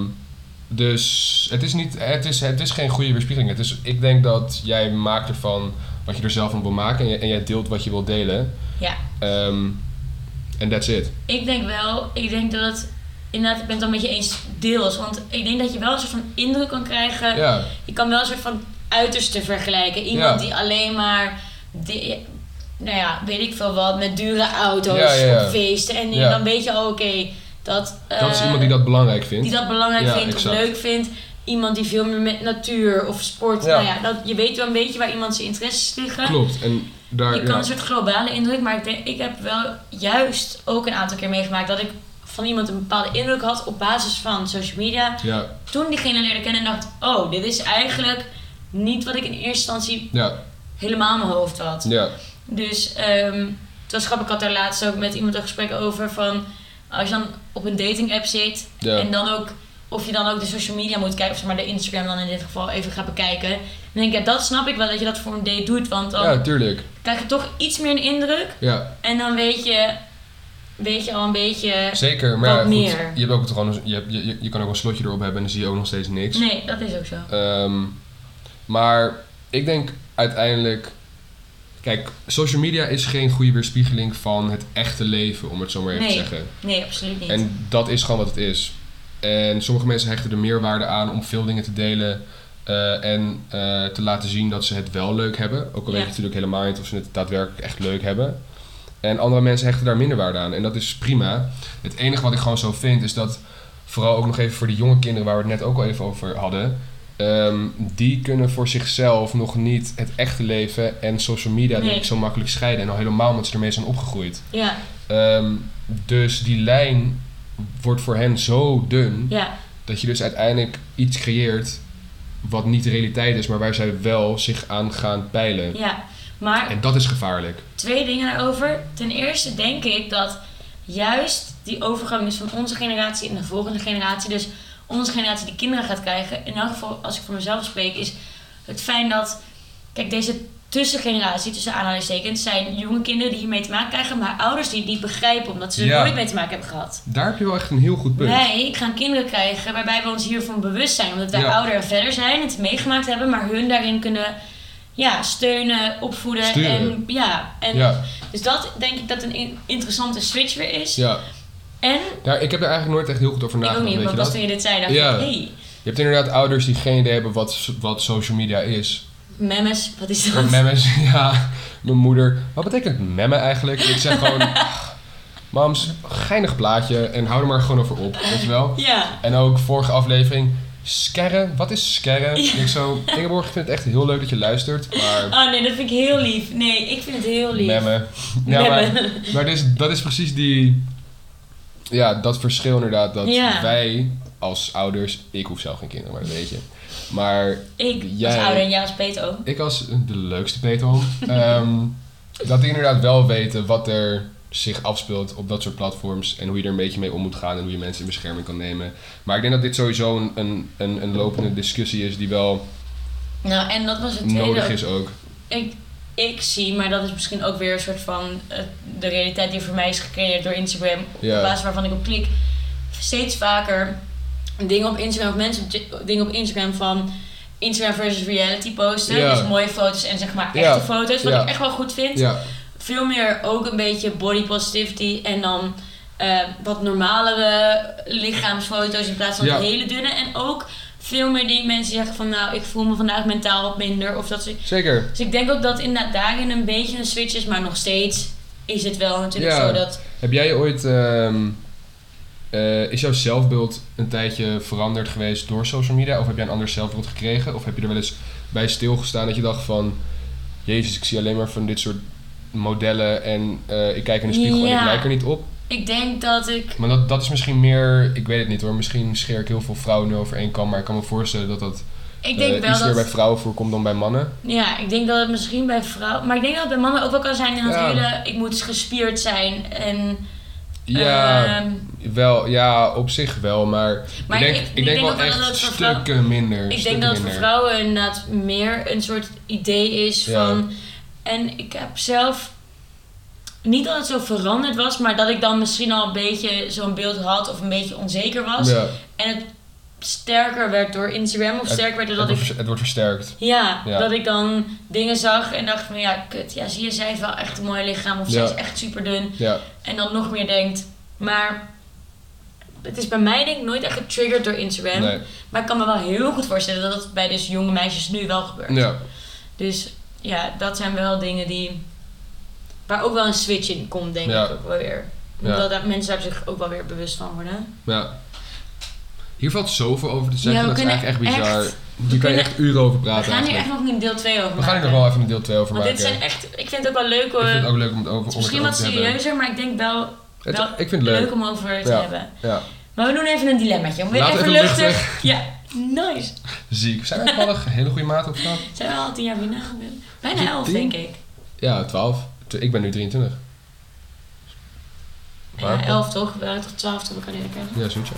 S2: dus het is, niet, het, is, het is geen goede weerspiegeling. Het is, ik denk dat jij maakt ervan wat je er zelf van wil maken en, jij- en jij deelt wat je wil delen.
S1: ja.
S2: Ehm, En that's it.
S1: Ik denk wel, ik denk dat het, inderdaad, ik ben het al met je eens deels. Want ik denk dat je wel een soort van indruk kan krijgen.
S2: Ja,
S1: Je kan wel een soort van uiterste vergelijken. Iemand
S2: Ja.
S1: die alleen maar, di- nou ja, weet ik veel wat, met dure auto's
S2: Ja, ja, ja.
S1: op feesten. En
S2: Ja.
S1: dan weet je al, oké, dat...
S2: dat is
S1: eh,
S2: iemand die dat belangrijk vindt.
S1: die dat belangrijk
S2: Ja,
S1: vindt
S2: exact.
S1: of leuk vindt. Iemand die veel meer met natuur of sport,
S2: Ja.
S1: nou ja, dat, je weet wel een beetje waar iemand zijn interesses liggen.
S2: Klopt. En daar,
S1: Je kan
S2: ja.
S1: een soort globale indruk, maar ik, denk, ik heb wel juist ook een aantal keer meegemaakt dat ik van iemand een bepaalde indruk had op basis van social media.
S2: Ja,
S1: Toen diegene leerde kennen en dacht, oh, dit is eigenlijk niet wat ik in eerste instantie
S2: ja,
S1: helemaal in mijn hoofd had.
S2: ja,
S1: Dus ehm het was grappig, ik had daar laatst ook met iemand een gesprek over van als je dan op een dating app zit
S2: ja.
S1: en dan ook, of je dan ook de social media moet kijken, of zeg maar de Instagram dan in dit geval even gaat bekijken. Dan denk ik, ja, dat snap ik wel dat je dat voor een date doet, want dan
S2: Ja, tuurlijk.
S1: krijg je toch iets meer een indruk.
S2: Ja,
S1: En dan weet je, weet je al een beetje.
S2: zeker. Maar ja,
S1: Wat
S2: goed,
S1: meer.
S2: je, hebt ook gewoon, een- je, hebt- je, je- je kan ook een slotje erop hebben en dan zie je ook nog steeds niks.
S1: Nee, dat is ook zo.
S2: Ehm, maar ik denk uiteindelijk. Kijk, social media is geen goede weerspiegeling van het echte leven, om het zo maar even
S1: Nee,
S2: te zeggen.
S1: Nee, absoluut niet.
S2: En dat is gewoon wat het is. En sommige mensen hechten er meerwaarde aan om veel dingen te delen. eh, en eh, te laten zien dat ze het wel leuk hebben. Ook al weet
S1: Ja.
S2: je natuurlijk helemaal niet of ze het daadwerkelijk echt leuk hebben. En andere mensen hechten daar minder waarde aan. En dat is prima. Het enige wat ik gewoon zo vind is dat. Vooral ook nog even voor de jonge kinderen waar we het net ook al even over hadden. ehm, die kunnen voor zichzelf nog niet het echte leven en social media
S1: Nee.
S2: denk ik zo makkelijk scheiden. En al helemaal omdat ze ermee zijn opgegroeid.
S1: Ja,
S2: Ehm, dus die lijn wordt voor hen zo dun
S1: ja,
S2: dat je dus uiteindelijk iets creëert wat niet de realiteit is, maar waar zij wel zich aan gaan peilen.
S1: ja. Maar
S2: En dat is gevaarlijk.
S1: twee dingen daarover. Ten eerste denk ik dat juist die overgang is van onze generatie en de volgende generatie. Dus onze generatie die kinderen gaat krijgen. In elk geval, als ik voor mezelf spreek, is het fijn dat. Kijk, deze tussengeneratie, tussen aanhalingstekens, zijn jonge kinderen die hiermee te maken krijgen, maar ouders die het niet begrijpen omdat ze er
S2: Ja.
S1: nooit mee te maken hebben gehad.
S2: Daar heb je wel echt een heel goed punt.
S1: Wij gaan kinderen krijgen waarbij we ons hiervan bewust zijn. Omdat wij
S2: Ja.
S1: ouder en verder zijn, het meegemaakt hebben, maar hun daarin kunnen ja, steunen, opvoeden.
S2: Sturen.
S1: En, ja, en
S2: Ja,
S1: Dus dat denk ik dat een in- interessante switch weer is.
S2: ja.
S1: En,
S2: ja, ik heb er eigenlijk nooit echt heel goed over
S1: ik ook niet,
S2: nagedacht. Weet
S1: want
S2: je,
S1: pas
S2: dat?
S1: toen je dit zei, dacht
S2: Ja.
S1: ik, hey,
S2: je hebt inderdaad ouders die geen idee hebben wat, so- wat social media
S1: [laughs]
S2: is.
S1: memes, wat is dat?
S2: Mijn Memmes, [laughs] ja, mijn moeder. Wat betekent memmen eigenlijk? Ik
S1: [laughs]
S2: zeg gewoon, mams, geinig plaatje en hou er maar gewoon over op, weet je wel?
S1: [laughs] Ja,
S2: En ook vorige aflevering. Skerren, wat is skerren? Ik zo, Ingeborg, ik vind het echt heel leuk dat je luistert,
S1: [laughs]
S2: maar
S1: oh nee, dat vind ik heel lief. Nee, ik vind het heel lief.
S2: memmen. Ja, maar,
S1: Memmen.
S2: maar dit is, dat is precies die, ja, dat verschil inderdaad. Dat
S1: Ja.
S2: wij als ouders... Ik hoef zelf geen kinderen, maar dat weet je. Maar
S1: [laughs] Ik
S2: Jij-
S1: als ouder en jij als peetoom.
S2: ik als de leukste peetoom... ehm, dat die inderdaad wel weten wat er zich afspeelt op dat soort platforms. En hoe je er een beetje mee om moet gaan. En hoe je mensen in bescherming kan nemen. Maar ik denk dat dit sowieso een, een, een, een lopende discussie is... die wel
S1: Nou, en dat was het
S2: nodig
S1: tweede.
S2: is ook.
S1: Ik, ik zie, maar dat is misschien ook weer een soort van eh, de realiteit die voor mij is gecreëerd door Instagram.
S2: Ja.
S1: Op basis waarvan ik op klik. Steeds vaker dingen op Instagram, of mensen op j- dingen op Instagram van Instagram versus reality posten.
S2: Ja.
S1: Dus mooie foto's en zeg maar echte
S2: Ja.
S1: foto's. Wat
S2: Ja.
S1: ik echt wel goed vind.
S2: Ja,
S1: veel meer ook een beetje body positivity en dan eh, wat normalere lichaamsfoto's in plaats van
S2: Ja.
S1: hele dunne. En ook veel meer die mensen zeggen van nou, ik voel me vandaag mentaal wat minder. Of dat ze...
S2: zeker.
S1: Dus ik denk ook dat inderdaad daarin een beetje een switch is, maar nog steeds is het wel natuurlijk
S2: Ja.
S1: zo dat...
S2: Heb jij ooit... ehm, eh, is jouw zelfbeeld een tijdje veranderd geweest door social media? Of heb jij een ander zelfbeeld gekregen? Of heb je er wel eens bij stilgestaan dat je dacht van... Jezus, ik zie alleen maar van dit soort modellen en eh, ik kijk in de spiegel en ik
S1: Ja.
S2: lijk er niet op.
S1: Ik denk dat ik...
S2: Maar dat, dat is misschien meer... Ik weet het niet hoor. Misschien scheer ik heel veel vrouwen nu over één kam. Maar ik kan me voorstellen dat dat
S1: Ik denk
S2: eh,
S1: wel
S2: iets meer
S1: dat...
S2: bij vrouwen voorkomt dan bij mannen.
S1: Ja, ik denk dat het misschien bij vrouwen... Maar ik denk dat het bij mannen ook wel kan zijn in dat
S2: Ja.
S1: hele... Ik moet gespierd zijn en...
S2: Ja,
S1: ehm,
S2: wel, ja, op zich wel. Maar,
S1: Maar
S2: ik denk,
S1: ik-
S2: ik
S1: ik
S2: denk
S1: denk
S2: wel
S1: ook wel dat
S2: echt
S1: het voor vrouwen-
S2: stukken minder.
S1: Ik
S2: stukken
S1: denk dat het voor
S2: minder.
S1: vrouwen inderdaad meer een soort idee is
S2: Ja.
S1: van. En ik heb zelf. Niet dat het zo veranderd was, maar dat ik dan misschien al een beetje zo'n beeld had of een beetje onzeker was.
S2: Ja,
S1: En het sterker werd door Instagram of
S2: Het-
S1: sterker werd
S2: het,
S1: doordat
S2: wordt,
S1: ik.
S2: vers- het wordt versterkt.
S1: Ja,
S2: Ja.
S1: dat ik dan dingen zag en dacht van ja, kut, ja, zie je, zij heeft wel echt een mooi lichaam of zij
S2: Ja.
S1: is echt super dun.
S2: Ja,
S1: En dan nog meer denkt, maar het is bij mij denk ik nooit echt getriggerd door Instagram.
S2: nee.
S1: Maar ik kan me wel heel goed voorstellen dat dat bij dus jonge meisjes nu wel gebeurt.
S2: Ja,
S1: Dus ja, dat zijn wel dingen die. waar ook wel een switch in komt, denk
S2: Ja.
S1: ik ook wel weer.
S2: Ja.
S1: Omdat daar- mensen daar zich ook wel weer bewust van worden.
S2: ja. Hier valt zoveel over te
S1: Ja,
S2: zeggen.
S1: we
S2: dat is
S1: kunnen
S2: eigenlijk echt bizar.
S1: echt-
S2: Hier kan je
S1: kunnen-
S2: echt uren over
S1: We
S2: praten.
S1: gaan hier
S2: eigenlijk.
S1: echt nog een deel 2 over
S2: we gaan hier
S1: maken.
S2: nog wel even een deel 2 over
S1: Want
S2: maken.
S1: dit zijn echt. Ik vind het ook wel leuk
S2: Ik
S1: hoor.
S2: vind
S1: Het
S2: het ook leuk om het over
S1: is
S2: om
S1: misschien
S2: het
S1: wat
S2: over te hebben.
S1: serieuzer, maar ik denk wel
S2: Het-
S1: wel
S2: ik vind het leuk.
S1: leuk om over te
S2: Ja.
S1: hebben.
S2: Ja.
S1: Maar we doen even een dilemmaatje. Om weer
S2: Laten we
S1: even
S2: even
S1: luchtig. Ja, nice.
S2: Ziek. Zijn we toevallig een hele goede maat of zo?
S1: Zijn we al tien jaar binnen geweest?
S2: Is
S1: Bijna
S2: het
S1: elf,
S2: tien?
S1: denk ik.
S2: Ja, 12. Tw- Ik ben nu 23. Maar-
S1: Ja, elf toch? We waren toch twaalf toen we elkaar leren kennen?
S2: Ja, zoiets. ja.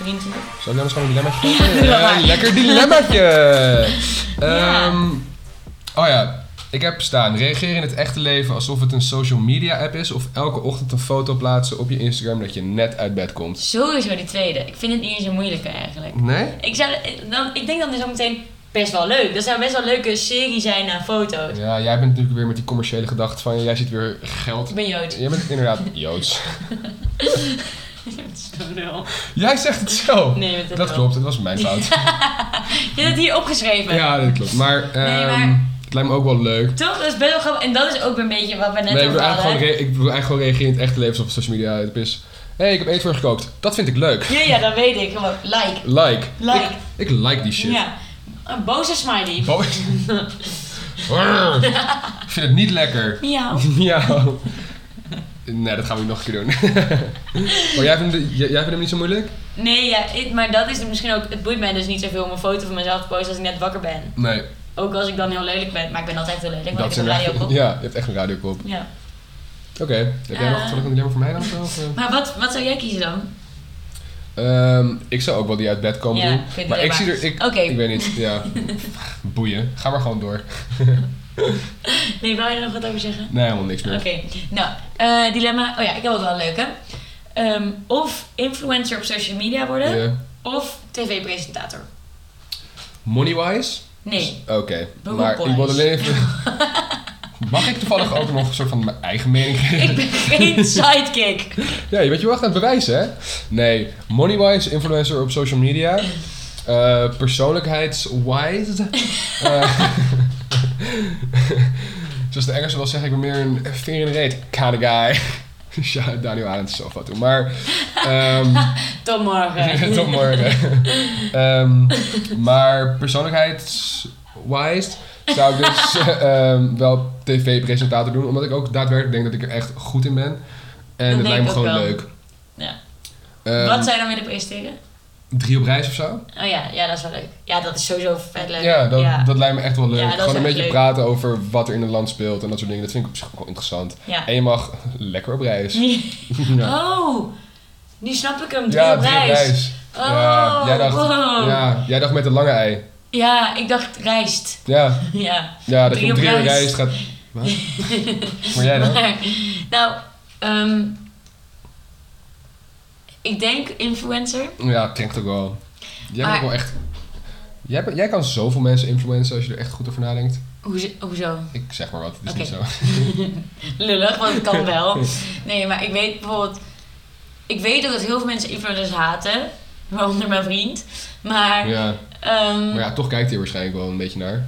S1: 23.
S2: Zal ik dan eens gewoon een dilemmaatje geven?
S1: doe dat
S2: Eh,
S1: maar.
S2: lekker
S1: [laughs]
S2: dilemmaatje!
S1: Ja.
S2: Ehm, oh ja, ik heb staan. Reageer in het echte leven alsof het een social media app is. Of elke ochtend een foto plaatsen op je Instagram dat je net uit bed komt.
S1: Sowieso die tweede. Ik vind het niet eens zo moeilijk eigenlijk.
S2: Nee?
S1: Ik, zou, dan, ik denk dan dus ook meteen best wel leuk. Dat zou best wel een leuke serie zijn naar foto's.
S2: Ja, jij bent natuurlijk weer met die commerciële gedachte van jij zit weer geld.
S1: Ik ben Joods.
S2: Jij bent inderdaad Joods.
S1: [laughs] Dat is toch lul.
S2: Jij zegt het zo.
S1: Nee, met
S2: dat klopt, dat was mijn
S1: [laughs]
S2: fout.
S1: Je hebt het hier opgeschreven.
S2: Ja, dat klopt. Maar,
S1: Nee,
S2: ehm,
S1: maar-
S2: het lijkt me ook wel leuk.
S1: Toch? Dat is best wel grappig. En dat is ook weer een beetje wat we net
S2: Nee, ik
S1: over
S2: bedoel, eigenlijk
S1: hadden.
S2: gewoon, re- ik bedoel eigenlijk gewoon reageren in het echte leven alsof het social media het is. Hé, hey, ik heb eten voor je gekookt. Dat vind ik leuk.
S1: Ja, ja, dat weet ik. Gewoon, like.
S2: Like.
S1: Like.
S2: Ik, ik like die [laughs] shit.
S1: Ja. Een boze smiley.
S2: Bo-
S1: [laughs]
S2: Brrr. ik vind het niet lekker. [laughs]
S1: Ja.
S2: ja. Nee, dat gaan we niet nog een keer doen. [laughs] maar jij vindt, jij, jij vindt hem niet zo moeilijk?
S1: Nee, ja, ik- maar dat is het misschien ook... Het boeit mij dus niet zoveel om een foto van mezelf te posten als ik net wakker ben.
S2: Nee.
S1: Ook als ik dan heel lelijk ben. Maar ik ben altijd heel lelijk, want
S2: dat
S1: ik
S2: is
S1: heb een radio
S2: inderdaad-
S1: op.
S2: [laughs] Ja, je hebt echt een radiokop.
S1: ja.
S2: Oké, heb jij nog
S1: Eh.
S2: toevallig een dilemma voor mij dan? of zo, Of, eh?
S1: Maar wat, wat zou jij kiezen dan?
S2: Ehm, ik zou ook wel die uit bed komen
S1: Ja,
S2: doen.
S1: vind ik
S2: Maar ik
S1: dilemma.
S2: zie er... Ik,
S1: Oké.
S2: ik weet niet.
S1: [laughs]
S2: Ja. Boeien. Ga maar gewoon door.
S1: Nee, wou je er nog wat over zeggen?
S2: Nee, helemaal niks meer.
S1: Oké, nou, eh, dilemma. Oh ja, ik heb ook wel een leuke. Ehm, of influencer op social media worden,
S2: Ja.
S1: of tv-presentator.
S2: Moneywise?
S1: Nee.
S2: Oké. Maar ik wil
S1: Beroepwise.
S2: alleen
S1: [laughs]
S2: even... Mag ik toevallig ook nog een soort van mijn eigen
S1: [laughs]
S2: mening
S1: Ik
S2: geven?
S1: ben geen sidekick.
S2: Ja, je bent je wacht aan het bewijzen, hè? Nee. Moneywise, influencer op social media. Eh, persoonlijkheidswise. Eh, [laughs] zoals de Engelsen wel zeggen, ik ben meer een veer in de reet kind of guy. [laughs] ja, Daniel Arendt is zo fout. Maar... ehm,
S1: Tot
S2: [laughs]
S1: morgen.
S2: Tot
S1: [laughs]
S2: morgen. Ehm, maar persoonlijkheidswise zou ik
S1: [laughs]
S2: dus eh, ehm, wel tv-presentator doen. Omdat ik ook daadwerkelijk denk dat ik er echt goed in ben. En
S1: denk
S2: het lijkt
S1: ik
S2: me
S1: ook
S2: gewoon
S1: wel.
S2: leuk.
S1: Ja.
S2: Ehm,
S1: Wat zou je dan willen presteren?
S2: Drie op reis of zo?
S1: Oh ja, ja, dat is wel leuk. Ja, dat is sowieso vet leuk.
S2: Ja dat, dat lijkt me echt wel leuk.
S1: Ja, dat is
S2: Gewoon een
S1: echt
S2: beetje
S1: leuk.
S2: praten over wat er in het land speelt en dat soort dingen. Dat vind ik op zich ook wel interessant.
S1: Ja. [laughs]
S2: En je mag lekker op reis. [laughs] Ja.
S1: Oh, nu snap ik hem. Drie
S2: Ja,
S1: op
S2: drie op
S1: reis.
S2: reis.
S1: Oh,
S2: ja, jij dacht,
S1: wow. Ja.
S2: ja, jij dacht met de lange ei.
S1: ik dacht rijst.
S2: Ja,
S1: [laughs] Ja.
S2: ja dat
S1: Drie
S2: je om
S1: op
S2: drie uur
S1: reis.
S2: reis
S1: [laughs]
S2: gaat... Wat? maar jij dan?
S1: Maar, nou, ehm, ik denk influencer.
S2: Ja, klinkt ook wel. Jij bent
S1: Maar-
S2: ook wel echt... Jij, bent- jij kan zoveel mensen influencen als je er echt goed over nadenkt.
S1: Hoezo? hoezo?
S2: Ik zeg maar wat, het is
S1: Oké.
S2: niet zo.
S1: Lullig, want het
S2: [laughs]
S1: kan wel. Nee, maar ik weet bijvoorbeeld... Ik weet dat heel veel mensen influencers haten. Waaronder mijn vriend. Maar...
S2: Ja.
S1: ehm,
S2: Maar ja, toch kijkt hij er waarschijnlijk wel een beetje naar.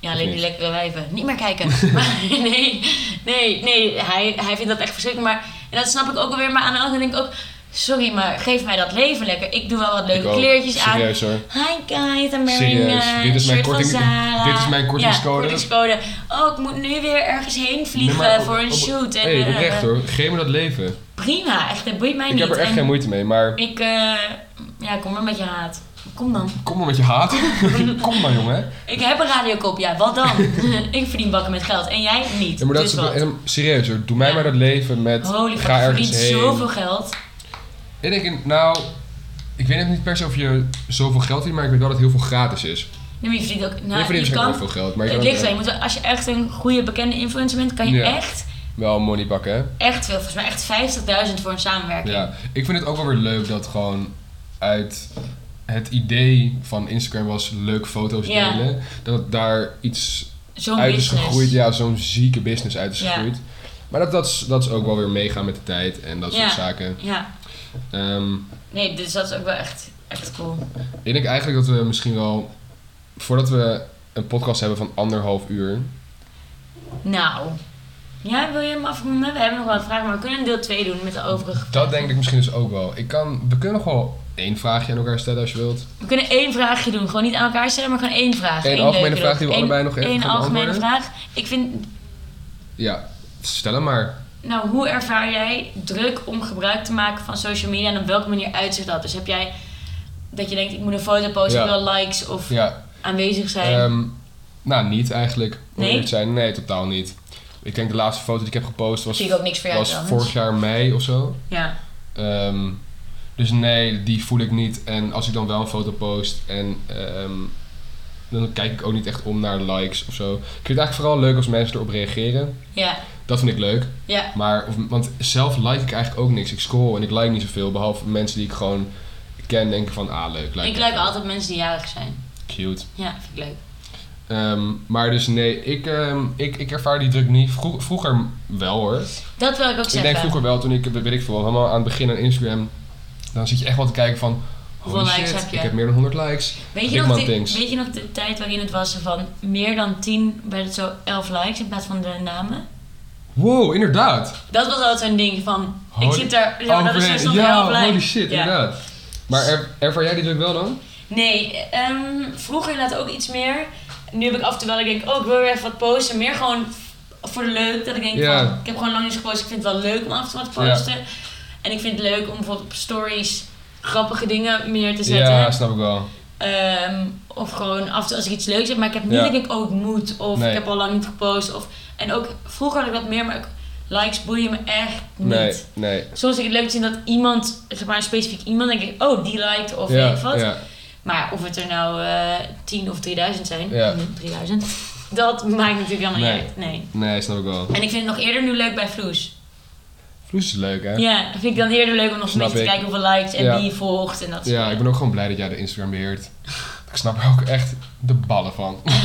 S1: Ja, alleen
S2: Of
S1: die
S2: niet?
S1: lekkere wijven. Niet meer kijken. [laughs] Maar nee, nee, nee. Hij, hij vindt dat echt verschrikkelijk. Maar en dat snap ik ook alweer. Maar aan de andere kant denk ik ook... Sorry, maar geef mij dat leven lekker. Ik doe wel wat
S2: Ik
S1: leuke
S2: ook.
S1: kleertjes aan.
S2: Serieus hoor.
S1: Hi guys, I'm wearing
S2: Serieus,
S1: eh,
S2: dit
S1: een
S2: is mijn
S1: shirt
S2: korting-
S1: van Zara.
S2: dit is mijn kortingscode.
S1: Ja, kortingscode. Oh, ik moet nu weer ergens heen vliegen
S2: Nee, maar op-
S1: voor een
S2: op-
S1: shoot. En,
S2: hey,
S1: eh,
S2: oprecht hoor. Geef me dat leven.
S1: Prima, echt, dat boeit mij
S2: ik
S1: niet.
S2: heb er echt
S1: En
S2: geen moeite mee, maar
S1: Ik, eh, ja, kom maar met je haat. Kom dan.
S2: kom maar met je
S1: [laughs]
S2: haat. kom maar jongen.
S1: Ik heb een radiokop, ja, wat dan? [laughs] ik verdien bakken met geld en jij niet.
S2: Ja, maar dat
S1: dus
S2: is,
S1: wat?
S2: en, serieus hoor, doe mij
S1: Ja.
S2: maar dat leven met
S1: Holy fuck,
S2: ga
S1: je
S2: ergens
S1: verdient
S2: heen.
S1: zoveel geld.
S2: Ik denk, nou, ik weet even niet per se of je zoveel geld hebt, maar ik weet wel dat heel veel gratis is.
S1: Nee, maar je verdient ook...
S2: je
S1: Nou,
S2: verdient dus
S1: je
S2: zeker
S1: kan...
S2: wel veel geld, maar je
S1: Het
S2: kan
S1: ligt
S2: ook
S1: aan, je moet wel- als je echt een goede bekende influencer bent, kan je
S2: Ja.
S1: echt,
S2: wel money pakken hè.
S1: echt veel, volgens mij echt 50.000 voor een samenwerking.
S2: Ja, ik vind het ook wel weer leuk dat gewoon uit het idee van Instagram was leuk foto's
S1: Ja.
S2: delen, dat daar iets
S1: Zo'n
S2: uit
S1: business.
S2: is dus gegroeid, ja, zo'n zieke business uit is
S1: Ja.
S2: gegroeid. Maar dat, dat, is, dat is ook wel weer meegaan met de tijd en dat soort
S1: Ja.
S2: zaken.
S1: Ja.
S2: Ehm,
S1: nee, dus dat is ook wel echt, echt cool.
S2: ik denk eigenlijk dat we misschien wel, voordat we een podcast hebben van anderhalf uur,
S1: Nou, ja, wil je hem afronden? We hebben nog wat vragen, maar we kunnen een deel 2 doen met de overige
S2: dat denk ik misschien dus ook wel. Ik kan, we kunnen nog wel één vraagje aan elkaar stellen als je wilt.
S1: We kunnen één vraagje doen. Gewoon niet aan elkaar stellen, maar gewoon één vraag.
S2: Eén
S1: Eén
S2: algemene
S1: leuke
S2: vraag die we
S1: Eén-
S2: allebei nog even
S1: één
S2: gaan
S1: algemene
S2: beantwoorden.
S1: vraag. Ik vind...
S2: Ja, stel hem maar.
S1: Nou, hoe ervaar jij druk om gebruik te maken van social media... en op welke manier uitzicht dat? Dus heb jij dat je denkt, ik moet een foto posten,
S2: Ja.
S1: ik wil likes of
S2: Ja,
S1: aanwezig zijn?
S2: Ehm, nou, niet eigenlijk. Om
S1: Nee?
S2: eerlijk te zijn, nee, totaal niet. Ik denk de laatste foto die ik heb gepost was,
S1: Zie ik ook niks voor jou
S2: was
S1: trouwens.
S2: vorig jaar mei of zo.
S1: Ja.
S2: Ehm, dus nee, die voel ik niet. En als ik dan wel een foto post en ehm, dan kijk ik ook niet echt om naar likes of zo. Ik vind het eigenlijk vooral leuk als mensen erop reageren.
S1: Ja.
S2: Dat vind ik leuk.
S1: Ja.
S2: Maar, of, want zelf like ik eigenlijk ook niks. Ik scroll en ik like niet zoveel. Behalve mensen die ik gewoon ken denken van, ah leuk.
S1: Ik like altijd mensen die jarig zijn.
S2: Cute.
S1: Ja, vind ik leuk.
S2: Ehm, maar dus nee, ik, ehm, ik, ik ervaar die druk niet. Vro- vroeger wel hoor.
S1: Dat wil ik ook zeggen.
S2: Ik denk vroeger wel, toen ik, weet ik veel, helemaal aan het begin aan Instagram. Dan zit je echt wel te kijken van, holy
S1: Hoeveel likes
S2: shit,
S1: heb je?
S2: ik heb meer dan 100 likes.
S1: Weet
S2: Big
S1: je, nog
S2: man
S1: de,
S2: things.
S1: weet je nog de tijd waarin het was van meer dan 10, werd het zo 11 likes in plaats van de namen?
S2: Wow, inderdaad.
S1: Dat was altijd zo'n ding van, ik
S2: Holy-
S1: zit daar, ja, dat is
S2: man,
S1: dus nog
S2: ja,
S1: heel blij.
S2: holy shit,
S1: Ja.
S2: inderdaad. Maar er, ervaar jij die druk wel dan?
S1: Nee, ehm, vroeger inderdaad ook iets meer. Nu heb ik af en toe wel, ik denk, oh, ik wil weer even wat posten. Meer gewoon voor de leuk, dat ik denk van,
S2: Ja.
S1: ik heb gewoon lang niets gepost. Ik vind het wel leuk om af en toe wat te
S2: Ja.
S1: posten. En ik vind het leuk om bijvoorbeeld op stories grappige dingen meer te zetten.
S2: Ja, snap ik wel.
S1: Ehm, of gewoon af en toe als ik iets leuks heb, maar ik heb niet
S2: Ja.
S1: dat ik denk, oh ik moet, of
S2: Nee.
S1: ik heb al lang niet gepost. Of, en ook vroeger had ik dat meer, maar ik- likes boeien me echt niet.
S2: Nee, nee.
S1: Soms vind ik het leuk te zien dat iemand, zeg maar een specifiek iemand, denk ik, oh die liked of weet ik
S2: ja,
S1: wat.
S2: ja,
S1: Maar of het er nou eh 10 of 3000 zijn,
S2: Ja.
S1: hm, 3000, dat maakt natuurlijk helemaal
S2: Nee.
S1: niet uit. Nee.
S2: nee, snap ik wel.
S1: En ik vind het nog eerder nu leuk bij Vloes.
S2: Vloes is leuk hè?
S1: Ja, dat vind ik dan eerder leuk om nog een
S2: Snap
S1: beetje te
S2: ik.
S1: kijken hoeveel likes en
S2: Ja.
S1: wie je volgt en dat soort
S2: Ja, ik
S1: dingen.
S2: ben ook gewoon blij dat jij de Instagram beheert. Ik snap er ook echt de ballen van.
S1: Nee,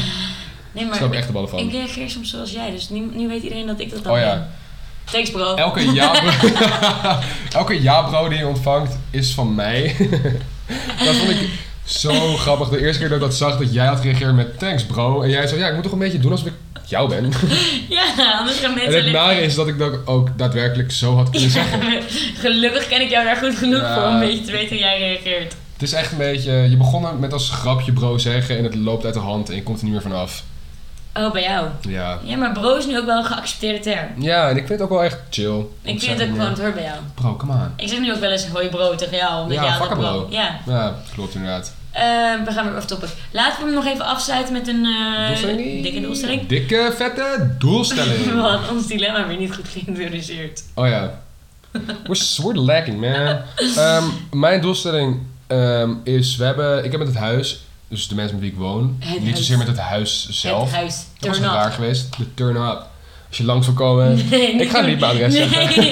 S2: Ik
S1: maar
S2: snap er echt de ballen van.
S1: Ik reageer soms zoals jij, dus nu, nu weet iedereen dat ik dat dan
S2: Oh ja.
S1: ben. Thanks bro.
S2: Elke ja-bro Elke ja-bro die je ontvangt is van mij. [laughs] dat vond ik zo grappig. De eerste keer dat ik dat zag, dat jij had gereageerd met thanks bro. En jij zei, ja, ik moet toch een beetje doen alsof ik jou ben.
S1: [laughs] Ja, anders gaan
S2: en
S1: mensen...
S2: het nare is dat ik dat ook daadwerkelijk zo
S1: [laughs]
S2: had kunnen zeggen.
S1: Gelukkig ken ik jou daar goed genoeg
S2: Ja.
S1: voor om een beetje te weten hoe jij reageert.
S2: Het is echt een beetje, je begon er met als grapje bro zeggen en het loopt uit de hand en je komt er niet meer vanaf.
S1: Oh, bij jou.
S2: Ja.
S1: Ja, maar bro is nu ook wel een geaccepteerde term.
S2: Ja, en ik vind het ook wel echt chill. om
S1: Ik
S2: te
S1: vind
S2: zeggen,
S1: het ook gewoon het hoort bij jou.
S2: Bro, come on.
S1: Ik zeg nu ook wel eens hoi bro tegen jou. Omdat
S2: Ja,
S1: jij
S2: fuck
S1: altijd
S2: hem, bro.
S1: Ja.
S2: Ja, klopt inderdaad.
S1: Ehm, we gaan weer off topic. Laten we hem nog even afsluiten met een eh,
S2: Doelstelling?
S1: dikke doelstelling.
S2: Dikke,
S1: [laughs]
S2: vette doelstelling.
S1: Want ons dilemma weer niet goed geïntroduceerd.
S2: oh ja. We're, we're lacking, man. Ehm, mijn doelstelling ehm, is, we hebben, ik heb met het huis, dus de mensen met wie ik woon,
S1: Het
S2: niet
S1: huis.
S2: zozeer met het huis zelf.
S1: Het huis.
S2: dat was
S1: turn
S2: raar
S1: up.
S2: geweest, de turn-up. Als je langs wil komen,
S1: [laughs] Nee,
S2: Ik ga
S1: doen.
S2: niet mijn adres
S1: Nee.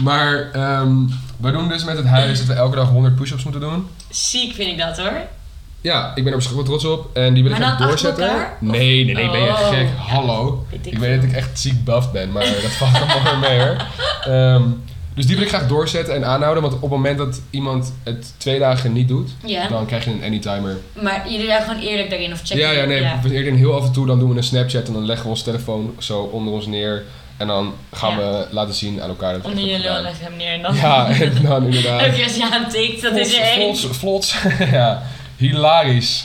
S2: Maar ehm, we doen dus met het huis dat we elke dag 100 push-ups moeten doen.
S1: [laughs] Ziek vind ik dat hoor.
S2: Ja, ik ben er verschrikkelijk trots op en die wil ik
S1: Maar
S2: graag
S1: dan achter
S2: doorzetten.
S1: elkaar?
S2: Nee, nee, nee, ben je
S1: Oh.
S2: gek?
S1: Ja.
S2: Hallo.
S1: Weet ik
S2: Ik weet dat ik echt ziek buff
S1: [laughs]
S2: ben, maar dat valt allemaal weer mee hoor. Ehm, dus die wil ik graag doorzetten en aanhouden, want op het moment dat iemand het twee dagen niet doet,
S1: Ja.
S2: dan krijg je een anytimer.
S1: Maar jullie zijn gewoon eerlijk daarin of checken.
S2: ja, ja, nee,
S1: Ja.
S2: we eerder heel af en toe dan doen we een Snapchat en dan leggen we ons telefoon zo onder ons neer en dan gaan
S1: Ja.
S2: we laten zien aan elkaar dat we het
S1: Onder
S2: echt
S1: je
S2: hebben
S1: lul leg
S2: gedaan.
S1: hem neer en dan. [laughs]
S2: Ja, [laughs] en dan inderdaad.
S1: Elke keer als je aantikt, dat is er één.
S2: Flots, flots, flots. [laughs] ja, hilarisch.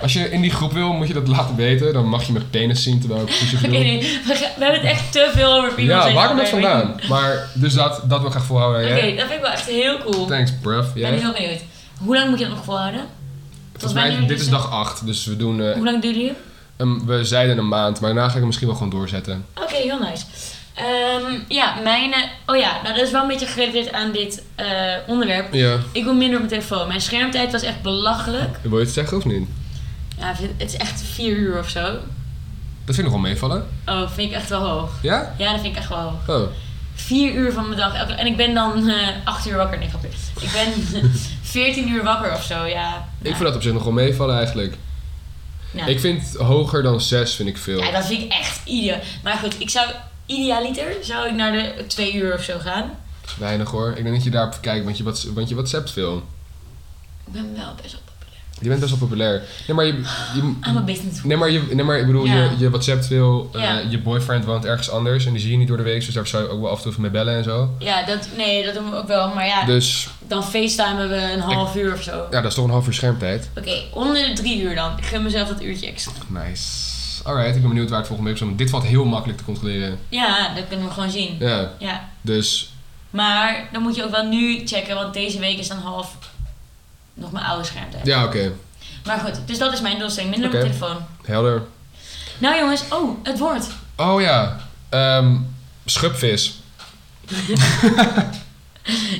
S2: Als je in die groep wil, moet je dat laten weten. Dan mag je mijn penis zien terwijl
S1: [laughs]
S2: ik push-ups
S1: Oké,
S2: doe.
S1: nee, we, gaan- we hebben het echt te veel over people.
S2: Ja, waar komt dat
S1: dat
S2: vandaan? Maar, dus dat, dat wil ik graag volhouden.
S1: Oké,
S2: hè?
S1: dat vind ik wel echt heel cool. Ik
S2: Thanks, bruv. Jij?
S1: ben heel benieuwd. Hoe lang moet je dat nog volhouden?
S2: Volgens
S1: wanneer
S2: mij, dit
S1: is
S2: is
S1: het?
S2: dag 8, dus we doen... eh,
S1: Hoe lang duurde je?
S2: een- we zeiden een maand, maar daarna ga ik hem misschien wel gewoon doorzetten.
S1: Oké, heel nice. Ehm, ja, mijn... eh, oh ja, nou, dat is wel een beetje gerelateerd aan dit eh, onderwerp.
S2: Ja.
S1: Ik wil minder op mijn telefoon. Mijn schermtijd was echt belachelijk.
S2: Wil je het zeggen of niet?
S1: Ja, ik vind- het is echt vier uur of zo.
S2: Dat vind ik nog wel meevallen.
S1: Oh, vind ik echt wel hoog.
S2: Ja?
S1: Ja, dat vind ik echt wel hoog.
S2: Oh.
S1: Vier uur van mijn dag. elke- En ik ben dan eh acht uur wakker. Nee, grapje. Ik ben eh,
S2: [laughs]
S1: veertien uur wakker of zo, ja.
S2: Ik vind dat op zich nog wel meevallen eigenlijk.
S1: Nou,
S2: Ik vind hoger dan 6 vind ik veel.
S1: Ja, dat vind ik echt idioot. Maar goed, ik zou... Idealiter zou ik naar de twee uur of zo gaan.
S2: Weinig hoor. Ik denk dat je daarop kijkt, want je, wat, want je WhatsAppt veel.
S1: Ik ben wel best wel populair. Ah,
S2: Je bent best wel populair. Nee, maar je... je
S1: I'm a business
S2: Nee, maar, je, nee, maar ik bedoel,
S1: Ja.
S2: je, je WhatsAppt veel, eh,
S1: Ja.
S2: je boyfriend woont ergens anders en die zie je niet door de week, dus daar zou je ook wel af en toe even mee bellen en zo.
S1: Ja, dat, nee, dat doen we ook wel. Maar ja,
S2: Dus
S1: dan facetimen we een half uur of zo.
S2: ja, dat is toch een half uur schermtijd.
S1: Oké, onder de drie uur dan. Ik gun mezelf dat uurtje extra.
S2: Nice. Alright, ik ben benieuwd waar het volgende week zo Dit valt heel makkelijk te controleren.
S1: Ja, dat kunnen we gewoon zien.
S2: Ja,
S1: Ja.
S2: dus
S1: Maar dan moet je ook wel nu checken, want deze week is dan half nog mijn oude schermtijd.
S2: ja, oké.
S1: Maar goed, dus dat is mijn doelstelling. Minder op
S2: Oké.
S1: mijn telefoon.
S2: Helder.
S1: Nou jongens, oh, het woord.
S2: Oh ja, ehm, schubvis.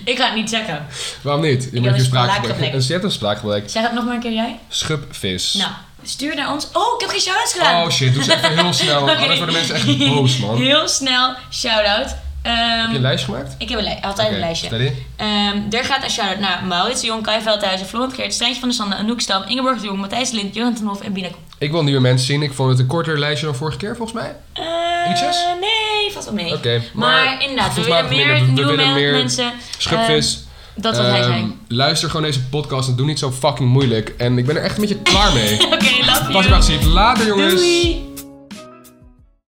S1: Ik ga het niet zeggen.
S2: Waarom niet? Je
S1: heb
S2: maakt je
S1: een
S2: spraakgebrek.
S1: spraakgebrek.
S2: En je hebt een spraakgebrek.
S1: Zeg het nog maar een keer jij.
S2: Schubvis.
S1: Nou, stuur naar ons. Oh, ik heb geen shout-outs gedaan.
S2: oh shit, doe ze
S1: [laughs]
S2: even heel snel.
S1: Oké.
S2: Anders worden mensen echt boos, man.
S1: [laughs] Heel snel, shout-out. Ehm,
S2: Heb je een lijst gemaakt?
S1: ik heb een lij- altijd een
S2: Oké,
S1: lijstje.
S2: steady.
S1: Ehm er gaat een shout-out naar Maurits de Jong, Kai Veldhuizen, Florent Geert, Strijntje van der Sande, Anouk Stam, Ingeborg de Jong, Matthijs de Lind, Johan ten Hof en Bina Koek.
S2: Ik wil nieuwe mensen zien. Ik vond het een korter lijstje dan vorige keer, volgens mij.
S1: Eh,
S2: Ietsjes?
S1: Nee, vast wel mee.
S2: Oké,
S1: maar,
S2: maar
S1: inderdaad, we willen
S2: volgens mij
S1: meer
S2: minder. We
S1: nieuwe
S2: willen
S1: men-
S2: meer
S1: mensen.
S2: Schubvis.
S1: Ehm, dat was hij
S2: Ehm,
S1: zijn. [laughs]
S2: Luister gewoon deze
S1: [laughs]
S2: podcast en doe niet zo fucking moeilijk. En ik ben er echt een beetje klaar mee.
S1: Oké, love
S2: Pas
S1: you.
S2: maar zien. Later jongens.
S1: Doei.